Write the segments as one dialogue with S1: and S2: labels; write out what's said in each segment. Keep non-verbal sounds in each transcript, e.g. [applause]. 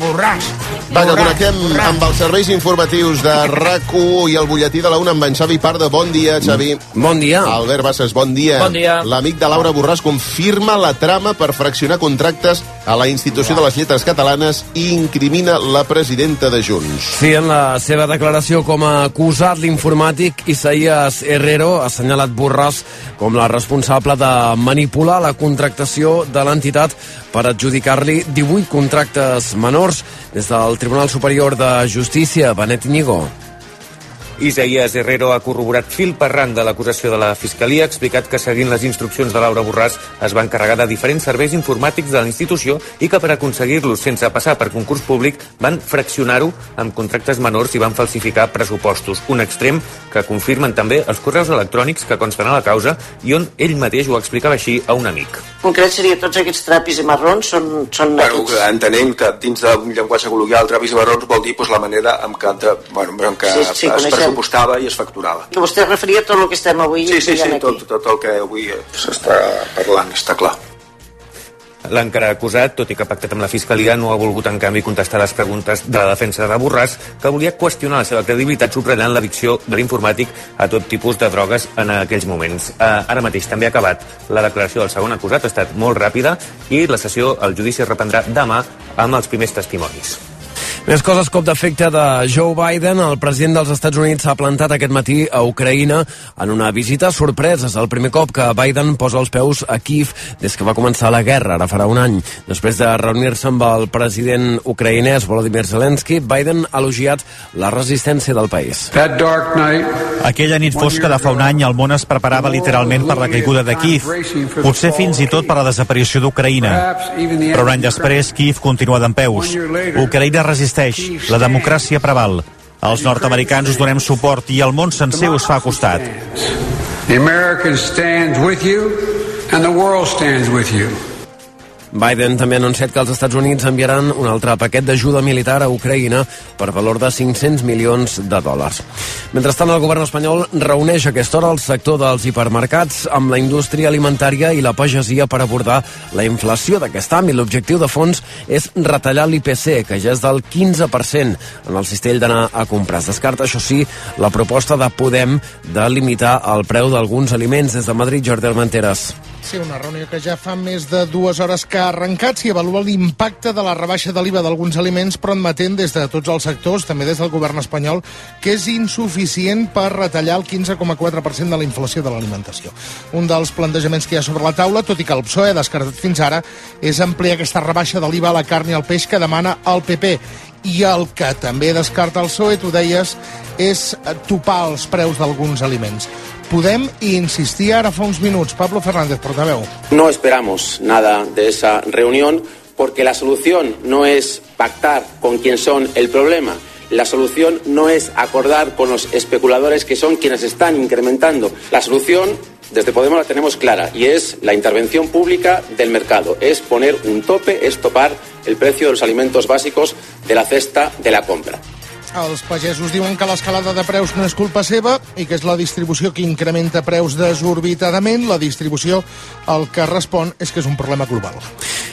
S1: borràs.
S2: Vaja, connectem amb els serveis informatius de rac i el butlletí de la UNA amb en Xavi Pardo. Bon dia, Xavi.
S3: Bon dia.
S2: Albert Bassas, bon dia.
S4: Bon dia.
S2: L'amic de Laura Borràs confirma la trama per fraccionar contractes a la institució de les lletres catalanes i incrimina la presidenta de Junts.
S3: Sí, en la seva declaració com a acusat, l'informàtic Isaías Herrero ha assenyalat Borràs com la responsable de manipular la contractació de l'entitat per adjudicar-li 18 contractes menors des del Tribunal Superior de Justícia, Benet Íñigo.
S5: Isaías Herrero ha corroborat fil per randa l'acusació de la Fiscalia, ha explicat que seguint les instruccions de Laura Borràs es va encarregar de diferents serveis informàtics de la institució i que per aconseguir-los sense passar per concurs públic van fraccionar-ho amb contractes menors i van falsificar pressupostos. Un extrem que confirmen també els correus electrònics que consten a la causa i on ell mateix ho explicava així a un amic.
S6: concret seria tots aquests trapis i marrons són, són
S7: Bueno, que entenem que dins d'un llenguatge col·loquial trapis i barrons vol dir doncs, la manera en què, de, bueno, en què
S6: Sí,
S7: sí,
S6: sí,
S7: sí, es
S6: coneixem.
S7: pressupostava i es facturava.
S6: que vostè es referia a tot el que estem avui
S7: Sí, sí, sí,
S6: dient
S7: tot, tot el que avui eh, s'està parlant, està clar.
S5: L'encara acusat, tot i que ha pactat amb la Fiscalia, no ha volgut, en canvi, contestar les preguntes de la defensa de Borràs, que volia qüestionar la seva credibilitat subratllant l'addicció de l'informàtic a tot tipus de drogues en aquells moments. Eh, ara mateix també ha acabat la declaració del segon acusat, ha estat molt ràpida, i la sessió, el judici es reprendrà demà amb els primers testimonis.
S3: Més coses cop d'efecte de Joe Biden. El president dels Estats Units s'ha plantat aquest matí a Ucraïna en una visita sorpresa. És el primer cop que Biden posa els peus a Kiev des que va començar la guerra, ara farà un any. Després de reunir-se amb el president ucraïnès Volodymyr Zelensky, Biden ha elogiat la resistència del país.
S8: Aquella nit fosca de fa un any el món es preparava literalment per la caiguda de Kiev, potser fins i tot per la desaparició d'Ucraïna. Però un any després, Kiev continua d'empeus. Ucraïna resisteix, la democràcia preval. Els nord-americans us donem suport i el món sencer us fa costat.
S3: Biden també ha anunciat que els Estats Units enviaran un altre paquet d'ajuda militar a Ucraïna per valor de 500 milions de dòlars. Mentrestant, el govern espanyol reuneix a aquesta hora el sector dels hipermercats amb la indústria alimentària i la pagesia per abordar la inflació d'aquest àmbit. L'objectiu de fons és retallar l'IPC, que ja és del 15% en el cistell d'anar a comprar. Es descarta, això sí, la proposta de Podem de limitar el preu d'alguns aliments. Des de Madrid, Jordi Armenteres.
S1: Sí, una reunió que ja fa més de dues hores que ha arrencat. S'hi avalua l'impacte de la rebaixa de l'IVA d'alguns aliments, però admetent des de tots els sectors, també des del govern espanyol, que és insuficient per retallar el 15,4% de la inflació de l'alimentació. Un dels plantejaments que hi ha sobre la taula, tot i que el PSOE E ha descartat fins ara, és ampliar aquesta rebaixa de l'IVA a la carn i al peix que demana el PP. I el que també descarta el PSOE, tu deies, és topar els preus d'alguns aliments. Podem i insistir ara fa uns minuts. Pablo Fernández, portaveu.
S9: No esperamos nada de esa reunión porque la solución no es pactar con quien son el problema. La solución no es acordar con los especuladores que son quienes están incrementando. La solución desde Podemos la tenemos clara y es la intervención pública del mercado. Es poner un tope, es topar el precio de los alimentos básicos de la cesta de la compra.
S1: Els pagesos diuen que l'escalada de preus no és culpa seva i que és la distribució que incrementa preus desorbitadament. La distribució el que respon és que és un problema global.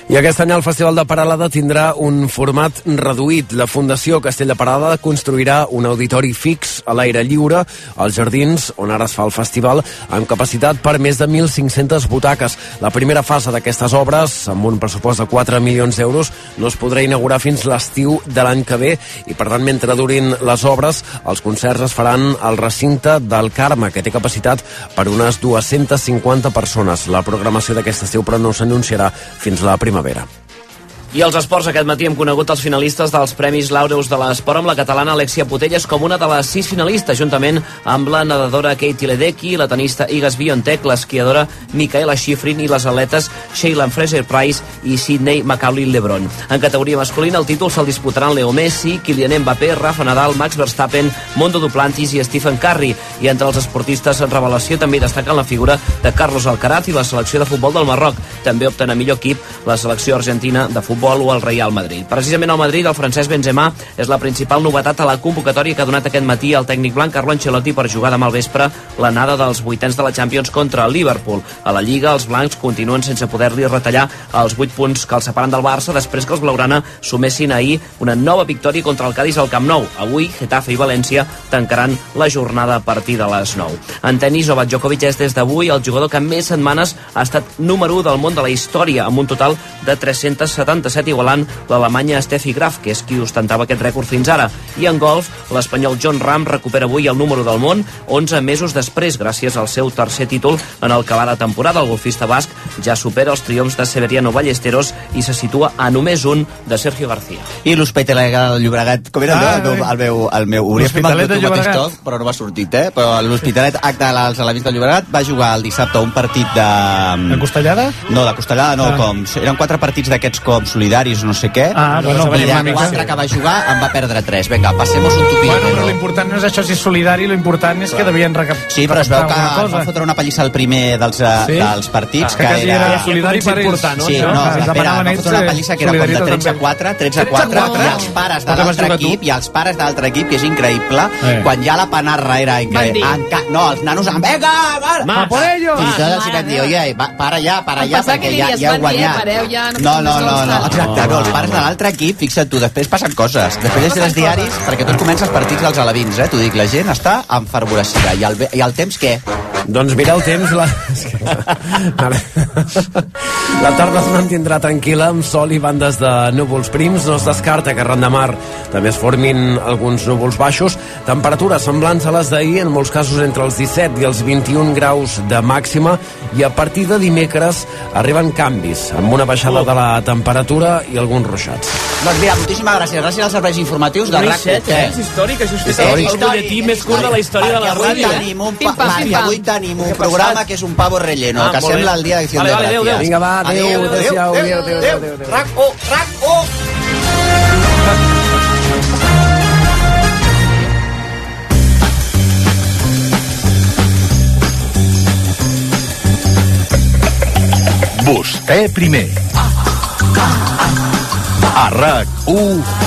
S3: I aquest any el Festival de Paralada tindrà un format reduït. La Fundació Castell de Paralada construirà un auditori fix a l'aire lliure als jardins on ara es fa el festival amb capacitat per més de 1.500 butaques. La primera fase d'aquestes obres, amb un pressupost de 4 milions d'euros, no es podrà inaugurar fins l'estiu de l'any que ve i, per tant, mentre durin les obres, els concerts es faran al recinte del Carme, que té capacitat per unes 250 persones. La programació d'aquest estiu, però, no s'anunciarà fins la primavera.
S4: I als esports aquest matí hem conegut els finalistes dels Premis Laureus de l'Esport amb la catalana Alexia Putellas com una de les sis finalistes, juntament amb la nedadora Katie Ledecky, la tenista Igas Biontech, l'esquiadora Micaela Schifrin i les atletes Sheila Fraser-Price i Sidney Macaulay Lebron. En categoria masculina el títol se'l disputaran Leo Messi, Kylian Mbappé, Rafa Nadal, Max Verstappen, Mondo Duplantis i Stephen Curry. I entre els esportistes en revelació també destaquen la figura de Carlos Alcaraz i la selecció de futbol del Marroc. També opten a millor equip la selecció argentina de futbol futbol o el Real Madrid. Precisament al Madrid, el francès Benzema és la principal novetat a la convocatòria que ha donat aquest matí el tècnic blanc Carlo Ancelotti per jugar demà al vespre l'anada dels vuitens de la Champions contra el Liverpool. A la Lliga, els blancs continuen sense poder-li retallar els vuit punts que els separen del Barça després que els blaugrana sumessin ahir una nova victòria contra el Cádiz al Camp Nou. Avui, Getafe i València tancaran la jornada a partir de les 9. En tenis, Novak Djokovic és des d'avui el jugador que més setmanes ha estat número 1 del món de la història, amb un total de 377 igualant l'alemanya Steffi Graf, que és qui ostentava aquest rècord fins ara. I en golf, l'espanyol John Ram recupera avui el número del món 11 mesos després, gràcies al seu tercer títol en el que va de temporada. El golfista basc ja supera els triomfs de Severiano Ballesteros i se situa a només un de Sergio García.
S10: I l'Hospitalet de Llobregat, com era
S11: Ah,
S10: el, meu,
S11: eh.
S10: el meu... El meu hauria fet el
S11: L'Hospitalet de
S10: teu mateix
S11: Llobregat.
S10: toc, però no m'ha sortit, eh? Però l'Hospitalet H de als Alamins de Llobregat va jugar el dissabte un partit de...
S11: Mm.
S10: De
S11: costellada?
S10: No, de costellada no,
S11: Ah.
S10: com... Eren quatre partits d'aquests com solidaris, no sé què.
S11: Ah, bueno,
S10: I
S11: una
S10: de
S11: mica.
S10: quatre que va jugar en va perdre tres. Vinga, passem un tupí.
S11: Bueno, però l'important no és això si és solidari, l'important és que devien recap...
S10: Sí, però es veu que
S11: recaptar alguna
S10: ens va fotre una pallissa al primer dels, eh,
S11: Sí?
S10: dels partits,
S11: Ah, que quasi era solidari per ells.
S10: Sí,
S11: Això,
S10: no,
S12: Ah,
S11: ens
S10: espera,
S11: demanaven
S10: va
S11: ells,
S10: fotre una
S11: eh,
S10: pallissa que era com de
S11: solidaritat
S10: 13 a
S11: també.
S10: 4, 13 a 4,
S11: 13 a 4.
S10: i els pares de
S11: Però que vas
S10: l'altre
S11: jugar tu.
S10: equip, i els pares de l'altre equip, que és increïble,
S11: Eh.
S10: quan ja la panarra era
S11: Van dir.
S10: increïble. Enca... No, els nanos, en- vinga, va,
S11: Más. A por ello.
S10: Fins i tot els
S11: Mare
S10: hi van dir,
S11: meva.
S10: oye, va, para ja, para
S12: Em
S10: ja,
S12: pensava que
S10: perquè
S12: li
S10: ja,
S12: diries,
S10: ja heu
S12: "Van dir, eh,
S10: guanyat.
S12: pareu ja, no
S10: No,
S12: fem
S10: no,
S12: més
S10: no, no,
S12: gols".
S10: exacte, no, els pares de l'altre equip, fixa't tu, després passen coses. Després llegeixes els diaris, perquè tot comença els partits dels alevins, eh, t'ho dic, la gent està enfervoracida. I el, ve- i el temps què?
S3: Doncs mira el temps, la... és que- Ara- la tarda es mantindrà tranquil·la amb sol i bandes de núvols prims. No es descarta que arran de mar també es formin alguns núvols baixos. Temperatures semblants a les d'ahir, en molts casos entre els 17 i els 21 graus de màxima. I a partir de dimecres arriben canvis, amb una baixada de la temperatura i alguns ruixats.
S10: Doncs mira, moltíssimes gràcies. Gràcies als serveis informatius de
S3: Lluís
S10: RAC1.
S3: Set, eh?
S10: Eh?
S3: És històric, això és
S10: Històric.
S3: el butlletí més curt de la història de
S10: Perquè
S3: la
S10: avui
S3: ràdio, eh?
S10: Tenim un,
S3: Pim,
S10: pa,
S3: pam, pim,
S10: perquè
S3: pam.
S10: avui tenim un
S3: Què ha
S10: programa
S3: passat?
S10: que és un pavo relleno,
S3: Ah,
S10: que
S3: molt
S10: sembla
S3: bé.
S10: el dia d'acció
S3: Vale,
S10: de
S3: vale,
S10: gràcies.
S3: adéu, adéu. Vinga, va, adéu, adéu, adéu, adéu, adéu, adéu.
S10: RAC1, RAC1.
S13: Vostè primer. A RAC1,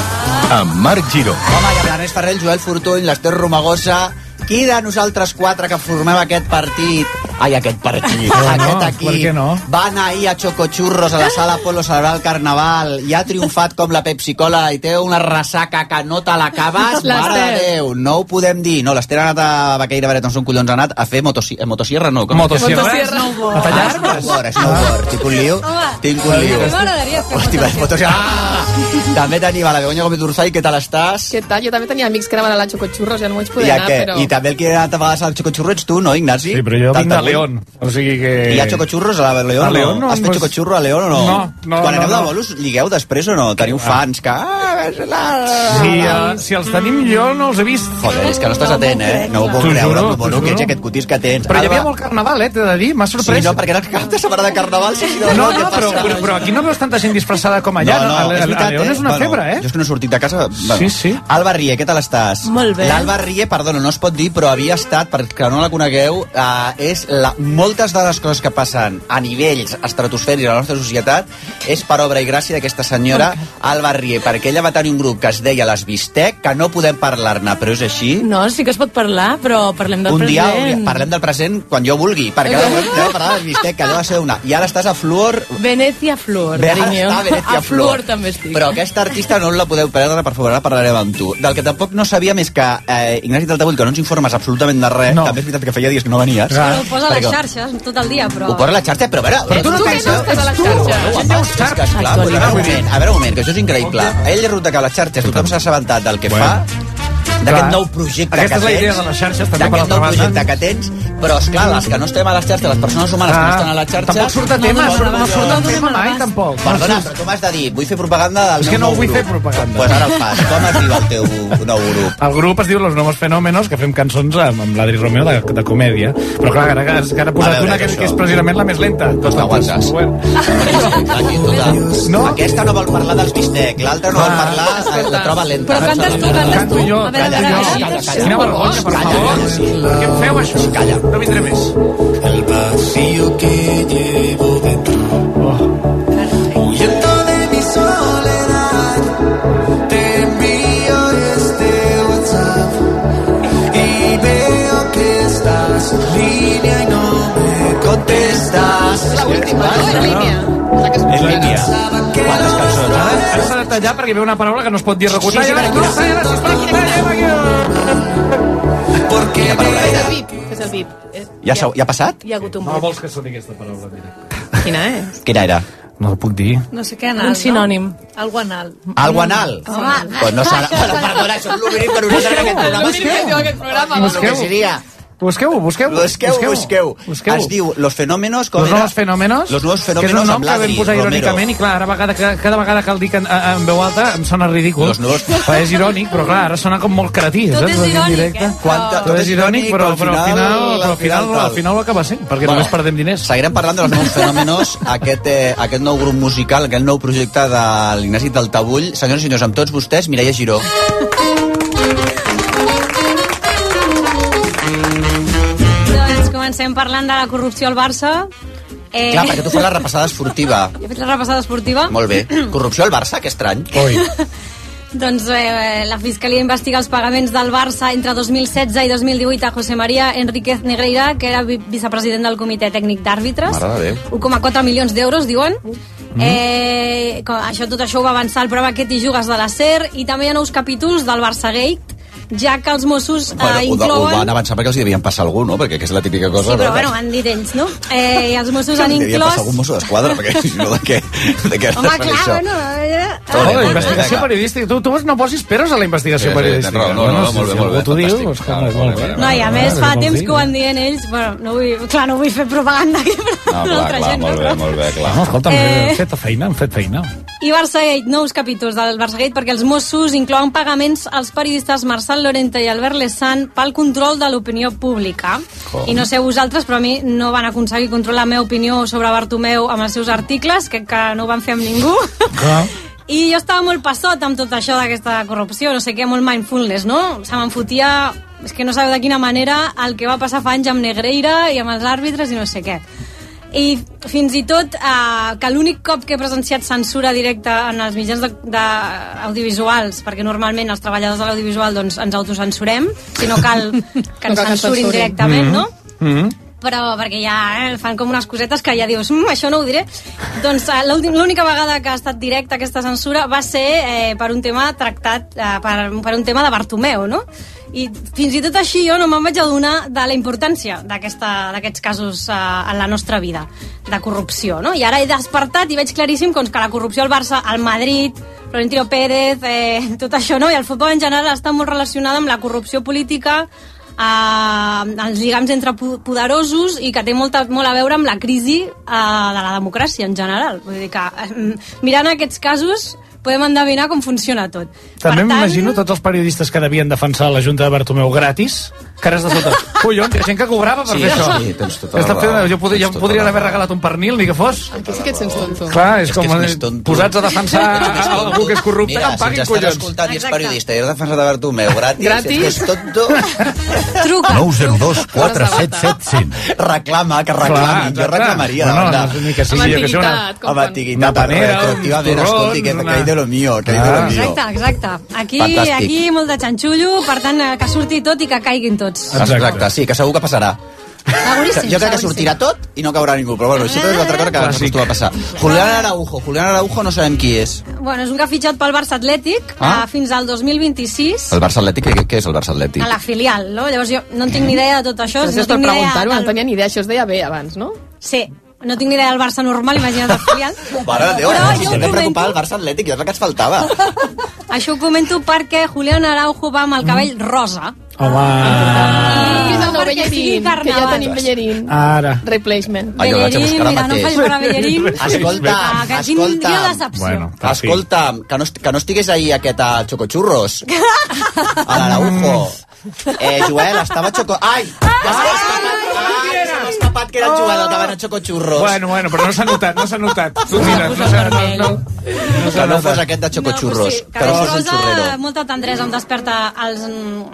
S13: amb Marc Giró.
S10: Home, i amb l'Ernest Ferrer, el Joel Fortuny, l'Ester Romagosa, qui de nosaltres quatre que formem aquest partit Ai, aquest
S11: [laughs]
S10: partit,
S11: Ah, No, no,
S10: aquest equip.
S11: per què no?
S10: Van ahir a Chocochurros a la sala Polo celebrar el Carnaval i ha triomfat com la Pepsi Cola i té una ressaca que no te l'acabes, mare de
S11: L'Ester.
S10: Déu, no ho podem dir. No, l'Ester ha anat a Baqueira Baret, on són collons ha anat, a fer motosi eh, motosierra, no. Com
S11: Motosierra.
S12: Motosierra.
S10: A tallar arbres. Snowboard, snowboard. Tinc un lío,
S12: Home.
S10: tinc un lío.
S12: A mi m'agradaria fer
S10: Hòstia, motosierra. Ah! També tenim a la Begoña Gómez d'Urzai, què tal estàs?
S12: Què tal? Jo també tenia amics que anaven a la Xocochurros, ja no vaig
S10: I,
S12: poder
S10: a
S12: anar,
S10: què?
S12: però...
S10: I també el que ha anat a vegades al Xocochurro ets tu, no, Ignasi? Sí, però
S11: Jo vinc de León, o sigui que...
S10: I hi ha xocochurros a la León?
S11: A
S10: o
S11: León
S10: no?
S11: no,
S10: Has fet
S11: pues-
S10: xocochurro a León o no?
S11: No, no,
S10: Quan
S11: no,
S10: aneu de
S11: no.
S10: bolos, ligueu després o no? Teniu fans que... Ah, és la...
S11: Si, eh, si els tenim jo, no els he vist.
S10: Joder, és que no estàs atent, eh? No ho puc
S11: T'ho
S10: creure,
S11: juro,
S10: el bono
S11: t'ho
S10: que ets
S11: juro.
S10: aquest cutis que tens.
S11: Però hi
S10: Alba,
S11: havia molt carnaval, eh, t'he de dir, m'ha sorprès.
S10: Sí, no, perquè era el cap de setmana de carnaval. Sí, sí,
S11: No, no,
S10: què
S11: però,
S10: passa?
S11: però, però aquí no veus tanta gent disfressada com allà. No, no, a, a, a León és una
S10: Bueno,
S11: febre, eh?
S10: Jo és que no he sortit de casa... Bueno.
S11: Sí, sí.
S10: Alba Rie, què tal estàs?
S11: Molt bé.
S10: L'Alba Rie, perdona, no es pot dir, però havia estat, perquè no la conegueu, eh, és la, moltes de les coses que passen a nivells estratosfèrics a la nostra societat és per obra i gràcia d'aquesta senyora Alba Rie, perquè ella va tenir un grup que es deia Les Bistec, que no podem parlar-ne, però és així.
S14: No, sí que es pot parlar, però parlem del
S10: un dia
S14: present.
S10: hauria- parlem del present quan jo vulgui, perquè ara volem anem a parlar de les bistec, que allò va ser una. I ara estàs a Fluor,
S14: Venècia Flor,
S10: Bé, ara
S14: carinyo.
S10: està Venezia
S14: a Flor.
S10: Flor.
S14: també estic.
S10: Però aquesta artista no la podeu perdre, per favor, ara parlarem amb tu. Del que tampoc no sabia més que, eh, Ignasi Taltabull, que no ens informes absolutament de res, no. també és veritat que feia dies que no venies.
S15: Ho posa a les
S10: Perquè-
S15: xarxes tot el dia, però...
S10: Ho posa a la xarxa, però a veure...
S15: Però tu no
S10: ets
S15: tens- estàs a les xarxes.
S10: No, home, és que, esclar,
S15: Ai,
S10: vull dir, a
S15: Toni.
S10: veure un moment, a veure un moment, que això és increïble. A ell li resulta que a les xarxes tothom s'ha assabentat del que fa, d'aquest
S11: Clar.
S10: nou projecte
S11: Aquesta
S10: que
S11: és la
S10: tens,
S11: idea de les xarxes, també, per
S10: d'aquest
S11: altra
S10: nou
S11: banda.
S10: projecte que tens, però, esclar, les que no estem a les xarxes, les persones humanes que
S11: Ah,
S10: no estan a les xarxes...
S11: tampoc surt a tema,
S10: donen
S11: surt- no
S10: valor.
S11: surt a tema mai, tampoc.
S10: Perdona,
S11: No
S10: però tu m'has de dir, vull fer propaganda del
S11: És
S10: meu
S11: que no
S10: nou
S11: vull
S10: grup.
S11: fer propaganda.
S10: Doncs ara el fas. Com es diu el teu nou grup?
S11: El grup es diu Los Nuevos Fenómenos, que fem cançons amb, amb l'Adri Romeo de, de comèdia. Però clar, ara, ara, ara ha
S10: A
S11: posat
S10: veure,
S11: una que,
S10: això.
S11: que és precisament la més lenta.
S10: Doncs t'aguantes. Aquí, total. [laughs] No? Aquesta no vol parlar dels bistec, l'altra no vol parlar, eh, la troba lenta.
S11: Però cantes tu, cantes
S10: tu.
S11: jo,
S10: A veure,
S11: Ah. canto
S10: calla,
S11: jo.
S10: calla, calla.
S11: Quina vergonya, per
S10: Calla,
S11: favor.
S10: calla, sí.
S11: Per què em feu això? Calla. No vindré més.
S16: El vacío que llevo dentro, huyendo de mis ojos.
S10: este
S11: retallar perquè ve una paraula que no es pot dir recortar.
S12: Sí, sí,
S11: Ja,
S12: per aquí.
S11: no, ja, ja,
S12: És el VIP, és el Eh, VIP. És-
S10: Ja, s'ha- ja ha passat?
S14: Hi ha hagut un
S11: No
S14: vot.
S11: vols que soni aquesta paraula en directe.
S14: Quina és?
S10: Quina era?
S11: No ho puc dir.
S15: No sé què anal,
S14: Un sinònim.
S15: No? Algo anal.
S10: Algo anal?
S15: Home,
S10: Pues
S15: [laughs]
S10: no serà... Però, perdona, això és l'únic per una d'aquest programa.
S12: programa.
S10: Busqueu. Que seria-
S11: Busqueu-ho, busqueu-ho.
S10: Busqueu, busqueu, busqueu.
S11: Busqueu.
S10: Es diu Los Fenómenos... com
S11: Los
S10: era?
S11: nous fenòmenos,
S10: Los nuevos
S11: que és un
S10: fenómenos
S11: nom
S10: amb
S11: que vam
S10: l'Adri
S11: posar irònicament
S10: Romero.
S11: i clar, ara vegada, que- cada vegada que el dic en, a- en veu alta em sona ridícul.
S10: Los nuevos-
S11: Perquè és irònic, però clar, ara sona com molt cretí.
S10: Tot
S11: saps?
S10: és
S11: Aquí en
S10: irònic,
S11: directe.
S10: eh? Quanta-
S11: Tot és irònic, però, però al final, però al final,
S10: tal.
S11: al final ho acaba sent, perquè només perdem diners.
S10: Seguirem parlant dels nous fenòmenos, aquest, eh, aquest nou grup musical, aquest nou projecte de l'Ignasi del Tabull. Senyores i senyors, amb tots vostès, Mireia Giró.
S15: Doncs comencem parlant de la corrupció al Barça. Eh,
S10: Clar, perquè tu fas la repassada esportiva.
S15: Jo [laughs] he fet la repassada esportiva.
S10: Molt bé.
S15: [clears throat]
S10: Corrupció al Barça, que estrany. Oi.
S15: Doncs eh, la Fiscalia investiga els pagaments del Barça entre 2016 i 2018 a José María Enríquez Negreira, que era vi- vicepresident del Comitè Tècnic d'Àrbitres.
S16: Mare de Déu.
S15: 1,4 milions d'euros, diuen.
S10: Mhm.
S15: Eh, com- això, tot això ho va avançar el programa Aquest i Jugues de la SER i també hi ha nous capítols del Barça Gate, ja que els Mossos eh,
S10: Bueno, ho, de- ho
S15: inclouen...
S10: van avançar perquè els hi devien passar algú, no? Perquè que és la típica
S15: Sí,
S10: cosa...
S15: però
S10: no?
S15: bueno, han dit ells, no? Eh, I els
S10: [laughs]
S15: Mossos han
S10: Li devia passar
S15: inclòs...
S10: algun mosso d'esquadra, perquè si no, de què? De què
S15: Home,
S10: has fet
S15: clar,
S10: això?
S15: bueno... Eh,
S10: Molt bé,
S11: Oh, la
S10: molt bé,
S11: investigació
S10: vinga.
S11: periodística. Tu, tu no posis peres a la
S10: Sí,
S11: investigació
S10: sí,
S11: periodística.
S10: tens raó. No, no, no,
S11: si-
S10: molt bé,
S11: si
S10: molt
S11: algú
S10: bé,
S11: t'ho diu, doncs que no, molt bé.
S15: No, i a més
S11: Ah,
S15: fa
S11: vols
S15: temps
S11: dir?
S15: que ho han dient ells, però no vull, clar, no vull fer propaganda [laughs] aquí per no, altra gent. no?
S10: bé, Ah, molt bé, clar.
S11: No, escolta,
S15: Eh.
S11: hem fet feina, hem fet feina.
S15: I Barçagate, nous capítols del Barçagate, perquè els Mossos inclouen pagaments als periodistes Marçal Lorente i Albert Lessant pel control de l'opinió pública.
S16: Com?
S15: I no sé vosaltres, però a mi no van aconseguir controlar la meva opinió sobre Bartomeu amb els seus articles, que, que no ho van fer amb ningú. I jo estava molt passot amb tot això d'aquesta corrupció, no sé què, molt mindfulness, no? Se me'n fotia, és que no sabeu de quina manera, el que va passar fa anys amb Negreira i amb els àrbitres i no sé què. I fins i tot eh, que l'únic cop que he presenciat censura directa en els mitjans de, de audiovisuals, perquè normalment els treballadors de l'audiovisual doncs, ens autocensurem, si no
S12: [laughs]
S15: cal que
S12: No
S15: ens
S12: cal que ens
S15: censurin
S12: censurin.
S15: directament,
S12: Mhm.
S15: no? però perquè ja eh, fan com unes cosetes que ja dius, mmm, això no ho diré. Doncs eh, l'últim- l'única vegada que ha estat directa aquesta censura va ser eh, per un tema tractat, eh, per, per un tema de Bartomeu, no? I fins i tot així jo no me'n vaig adonar de la importància d'aquesta- d'aquests casos eh, en la nostra vida de corrupció, no? I ara he despertat i veig claríssim doncs, que la corrupció al Barça, al Madrid, Florentino Pérez, eh, tot això, no? I el futbol en general està molt relacionada amb la corrupció política, eh, els lligams entre po- poderosos i que té molt a, molt a veure amb la crisi eh, de la democràcia en general. Vull dir que eh, mirant aquests casos podem endevinar com funciona tot.
S11: També
S15: tant-
S11: m'imagino tots els periodistes que devien defensar la Junta de Bartomeu gratis, cares de
S10: [laughs]
S11: sota. Collons, hi ha gent que cobrava per
S10: Sí,
S11: fer això.
S10: sí, tens tota la
S11: Està fent,
S10: raó,
S11: jo
S10: tens
S11: podria, jo
S10: tota
S11: podria
S10: la
S11: haver
S10: raó.
S11: regalat un pernil, ni que fos.
S10: [laughs]
S12: Aquí sí que et sents tonto.
S11: Clar, és, com
S10: que és
S11: eh,
S10: més tonto.
S11: posats a
S10: [laughs]
S11: defensar a, a algú que és corrupte,
S10: Mira,
S11: que em paguin,
S10: si ens estàs
S11: collons.
S10: escoltant i ets periodista i has defensat de Bartomeu, gratis,
S12: Gratis.
S10: és que és tonto.
S15: Truca.
S10: 902 4775. Reclama, que reclami.
S11: Clar,
S10: jo reclamaria, la
S11: No, no,
S10: veritat.
S11: no, ni que sigui, jo que sé, una...
S10: Amb antiguitat,
S11: Una panera,
S10: però efectivament,
S11: uns torrons,
S10: escolti, que,
S11: una-
S10: que he de lo mío, que he de lo mío.
S15: Exacte, exacte. Aquí,
S10: Fantàstic.
S15: aquí molt de xanxullo, per tant, eh, que surti tot i que caiguin tots.
S10: Exacte. Exacte, sí, que segur que passarà.
S15: Seguríssim,
S10: jo crec que
S15: seguríssim.
S10: sortirà tot i no caurà ningú, però bueno, això és una altra cosa que abans acostuma a passar. Julián Araujo, Julián Araujo no sabem qui és.
S15: Bueno, és un que ha fitxat pel Barça Atlètic
S10: Ah.
S15: ah. fins al 2026
S10: El Barça Atlètic, què, què és el Barça Atlètic?
S15: a la filial, no? Llavors jo no en
S10: Eh?
S15: tinc ni idea de tot això.
S12: Gràcies
S15: no tinc
S12: per
S15: ni idea
S12: preguntar-ho,
S15: del-
S12: no tenia ni idea, això es deia bé abans, no?
S15: Sí, no tinc ni idea del Barça normal, imagina't el
S10: [laughs]
S15: filial.
S10: Mare de Déu,
S15: Però
S10: no,
S15: jo
S10: si
S15: ho
S10: estem
S15: comento.
S10: preocupada del Barça Atlètic, és el que ens faltava.
S15: Això ho comento perquè Julián Araujo va amb el cabell
S10: Mm.
S15: rosa.
S11: Home,
S12: Que és el nou
S15: perquè sigui
S12: Bellerín, que ja
S15: carnaval.
S12: tenim Bellerín.
S11: ara.
S12: Replacement.
S10: Ah, jo vaig a buscar ara
S15: mira, no
S10: mateix.
S15: facis parar Bellerín.
S10: [laughs] Escolta,
S15: Ah, que quin
S10: escolta.
S15: dia de decepció. Bueno,
S10: escolta, que no, est- que no estigués ahir aquest a Chocochurros. A l'Araujo. Eh, Joel, estava Choco... Ai! Ja s'ha escapat, ai, se m'ha escapat que era el Joel el que va anar a Chocochurros.
S11: Bueno, bueno, però no s'ha notat, no s'ha notat. Tu mira, no s'ha notat, no. No
S10: que
S11: s'ha
S10: no fos
S11: notat.
S10: aquest de Chocochurros.
S15: Sí,
S10: que no
S15: cabell
S10: fos un xurrero.
S15: rosa, molta tendresa em desperta els,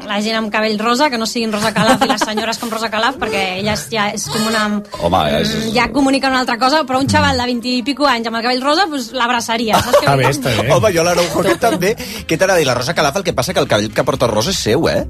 S15: la gent amb cabell rosa, que no siguin Rosa Calaf i les senyores com Rosa Calaf, perquè elles ja és com una...
S10: Home, és...
S15: Mm, ja comuniquen una altra cosa, però un xaval de 20 i pico anys amb el cabell rosa, doncs l'abraçaria. saps què vull dir?
S10: Home, jo l'Araujo aquest també. Què t'ha de dir? La Rosa Calaf, el que passa que el cabell que porta Rosa és seu, eh?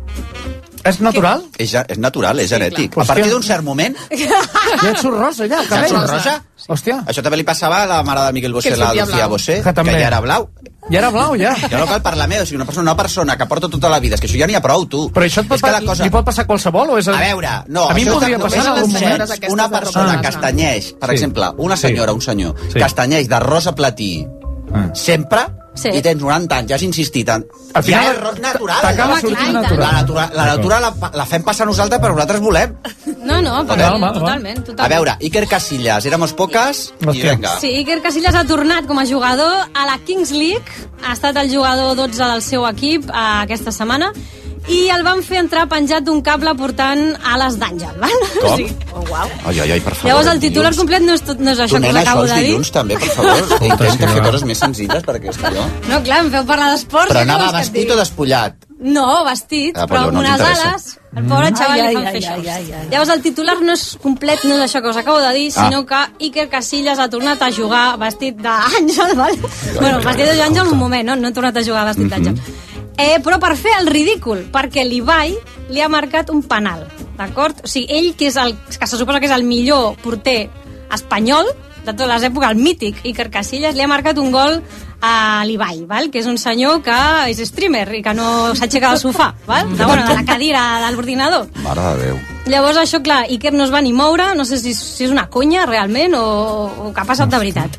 S10: És natural? És, ja- és natural, és genètic.
S16: clar.
S10: A partir d'un cert moment...
S16: Ja ets sorrosa, ja,
S10: Ja
S16: el cabell.
S10: ets rosa?
S16: Hòstia.
S10: Això també li passava a la mare de Miguel Bosé,
S16: Que
S10: la
S16: sortia
S10: Lucía
S16: blau.
S10: Bosé,
S16: Que
S10: que,
S16: també.
S10: ja era blau.
S16: Ja era blau, ja.
S10: Ja no cal parlar més, o sigui, una persona, una persona que porta tota la vida, és que això ja n'hi ha prou, tu. Però això et pot,
S16: Pa- Li pot passar qualsevol o és...
S10: A veure, no,
S16: A mi em
S10: això
S16: podria
S10: no-
S16: passar
S10: només
S16: en algun
S10: les
S16: moment.
S10: senyors, Una persona que estanyeix, per
S16: Sí.
S10: exemple, una
S16: Sí.
S10: senyora, un senyor,
S16: Sí. Ah.
S10: que estanyeix de rosa platí sempre,
S15: Sí.
S10: i tens 90 anys, ja has insistit en...
S16: Al final,
S10: ja és ro- natural.
S16: t'acaba
S10: Home,
S16: sortint
S10: clar, i tant.
S16: natural.
S10: La, natura, la natura la, fa- la fem passar nosaltres, però nosaltres volem.
S15: No, no,
S10: Totalment,
S15: però,
S10: home, home.
S15: totalment, totalment.
S10: A veure, Iker Casillas, éramos poques, i vinga.
S15: Sí, Iker Casillas ha tornat com a jugador a la Kings League. Ha estat el jugador 12 del seu equip eh, aquesta setmana i el van fer entrar penjat d'un cable portant ales d'àngel. Val?
S10: Com?
S15: O sigui,
S10: Oh, Ai, ai, ai, per favor.
S15: llavors el titular
S10: dilluns.
S15: complet no és, tot, no és això que us
S10: Donem això
S15: acabo
S10: els
S15: de dir.
S10: dilluns, també, per [laughs] favor. Intenta fer coses més senzilles, perquè és allò...
S15: No, clar, em feu parlar d'esports.
S10: Però
S15: què
S10: anava
S15: vols que et
S10: vestit
S15: digui?
S10: o despullat?
S15: No, vestit,
S10: Ah, però
S15: però
S10: no
S15: amb
S10: ens
S15: unes
S10: interessa.
S15: ales. El pobre
S14: Mm.
S15: xaval
S14: Ai,
S15: li
S14: ai,
S15: fan
S14: ai,
S15: fer això.
S14: ai, ai, ai.
S15: Llavors el titular no és complet, no és això que us acabo de dir,
S14: Ah.
S15: sinó que Iker Casillas ha tornat a jugar vestit d'àngel, val? bueno, vestit d'àngel un moment, no? No ha tornat a jugar vestit d'àngel. Eh, però per fer el ridícul, perquè l'Ibai li ha marcat un penal, d'acord? O sigui, ell, que, és el, que se suposa que és el millor porter espanyol de totes les èpoques, el mític Iker Casillas, li ha marcat un gol a l'Ibai, val? que és un senyor que és streamer i que no s'aixeca del sofà, val? De, bueno, de la cadira de l'ordinador.
S10: Mare de Déu.
S15: Llavors, això, clar, Iker no es va ni moure, no sé si, si és una conya, realment, o, o que ha passat de veritat.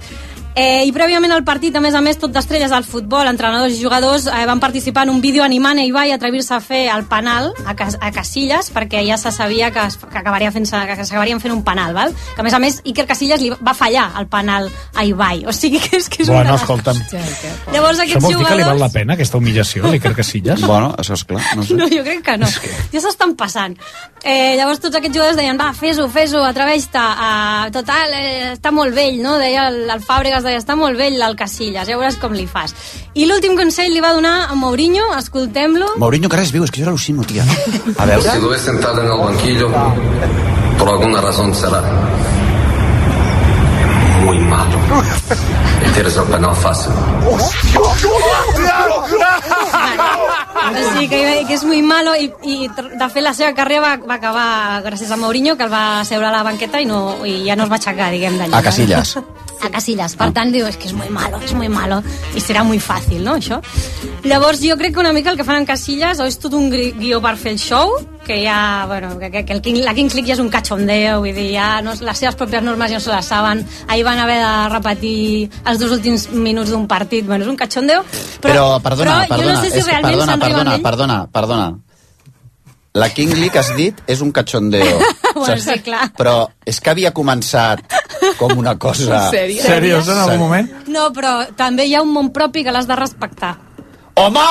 S15: Eh, I prèviament al partit, a més a més, tot d'estrelles del futbol, entrenadors i jugadors, eh, van participar en un vídeo animant a Ibai a atrevir-se a fer el penal a, Cas a Casillas, perquè ja se sabia que, es, que, acabaria fent que s'acabarien fent un penal, val? que a més a més Iker Casillas li va fallar el penal a Ibai, o sigui que és, que és
S11: Bueno,
S15: una...
S11: escolta'm.
S15: Llavors
S11: Això
S15: aquests
S11: vols dir que li val
S15: jugadors...
S11: la pena, aquesta humillació, l'Iker Casillas?
S10: Bueno, això és clar. No
S15: No, jo crec que no. Ja s'estan passant. Eh, llavors tots aquests jugadors deien, va, fes-ho, fes-ho, atreveix-te. Uh, total, eh, està molt vell, no? Deia el, el Fàbregas, deia, està molt vell el Casillas, ja veuràs com li fas. I l'últim consell li va donar a Mourinho, escoltem-lo.
S10: Mm. Mourinho, que res viu, és que jo l'al·lucino,
S15: [laughs]
S10: tia. A veure...
S17: Si lo ves sentado en el banquillo, por alguna razón será muy malo. Y tienes el penal fácil.
S15: O sigui que, Ibai, que és molt malo i, i de fet la seva carrera va, va acabar gràcies a Mourinho, que el va seure a la banqueta i, no, i ja no es va aixecar, diguem, d'allà.
S10: A Casillas. Ah.
S15: a Casillas. Per tant, diu, és que és molt malo, és molt malo, i serà molt fàcil, no, això? Llavors, jo crec que una mica el que fan en Casillas o és tot un gri- guió per fer el show, que ja, bueno, que, que, que el King, la Kings League ja és un cachondeo, vull dir, ja no, les seves pròpies normes ja no se les saben, ahir van haver de repetir els dos últims minuts d'un partit, bueno, és un cachondeo,
S10: Però, perdona,
S15: però
S10: perdona,
S15: jo no sé si
S10: és que-
S15: realment
S10: perdona,
S15: se'n riuen
S10: perdona,
S15: d'ell.
S10: perdona, perdona. La King Lee que has dit és un
S15: [laughs]
S10: cachondeo.
S15: bueno,
S10: Saps?
S15: sí, clar.
S10: Però és que havia començat com una cosa...
S15: Sèria.
S11: Seriós, en algun moment?
S15: No, però també hi ha un món propi que l'has de respectar.
S10: Home!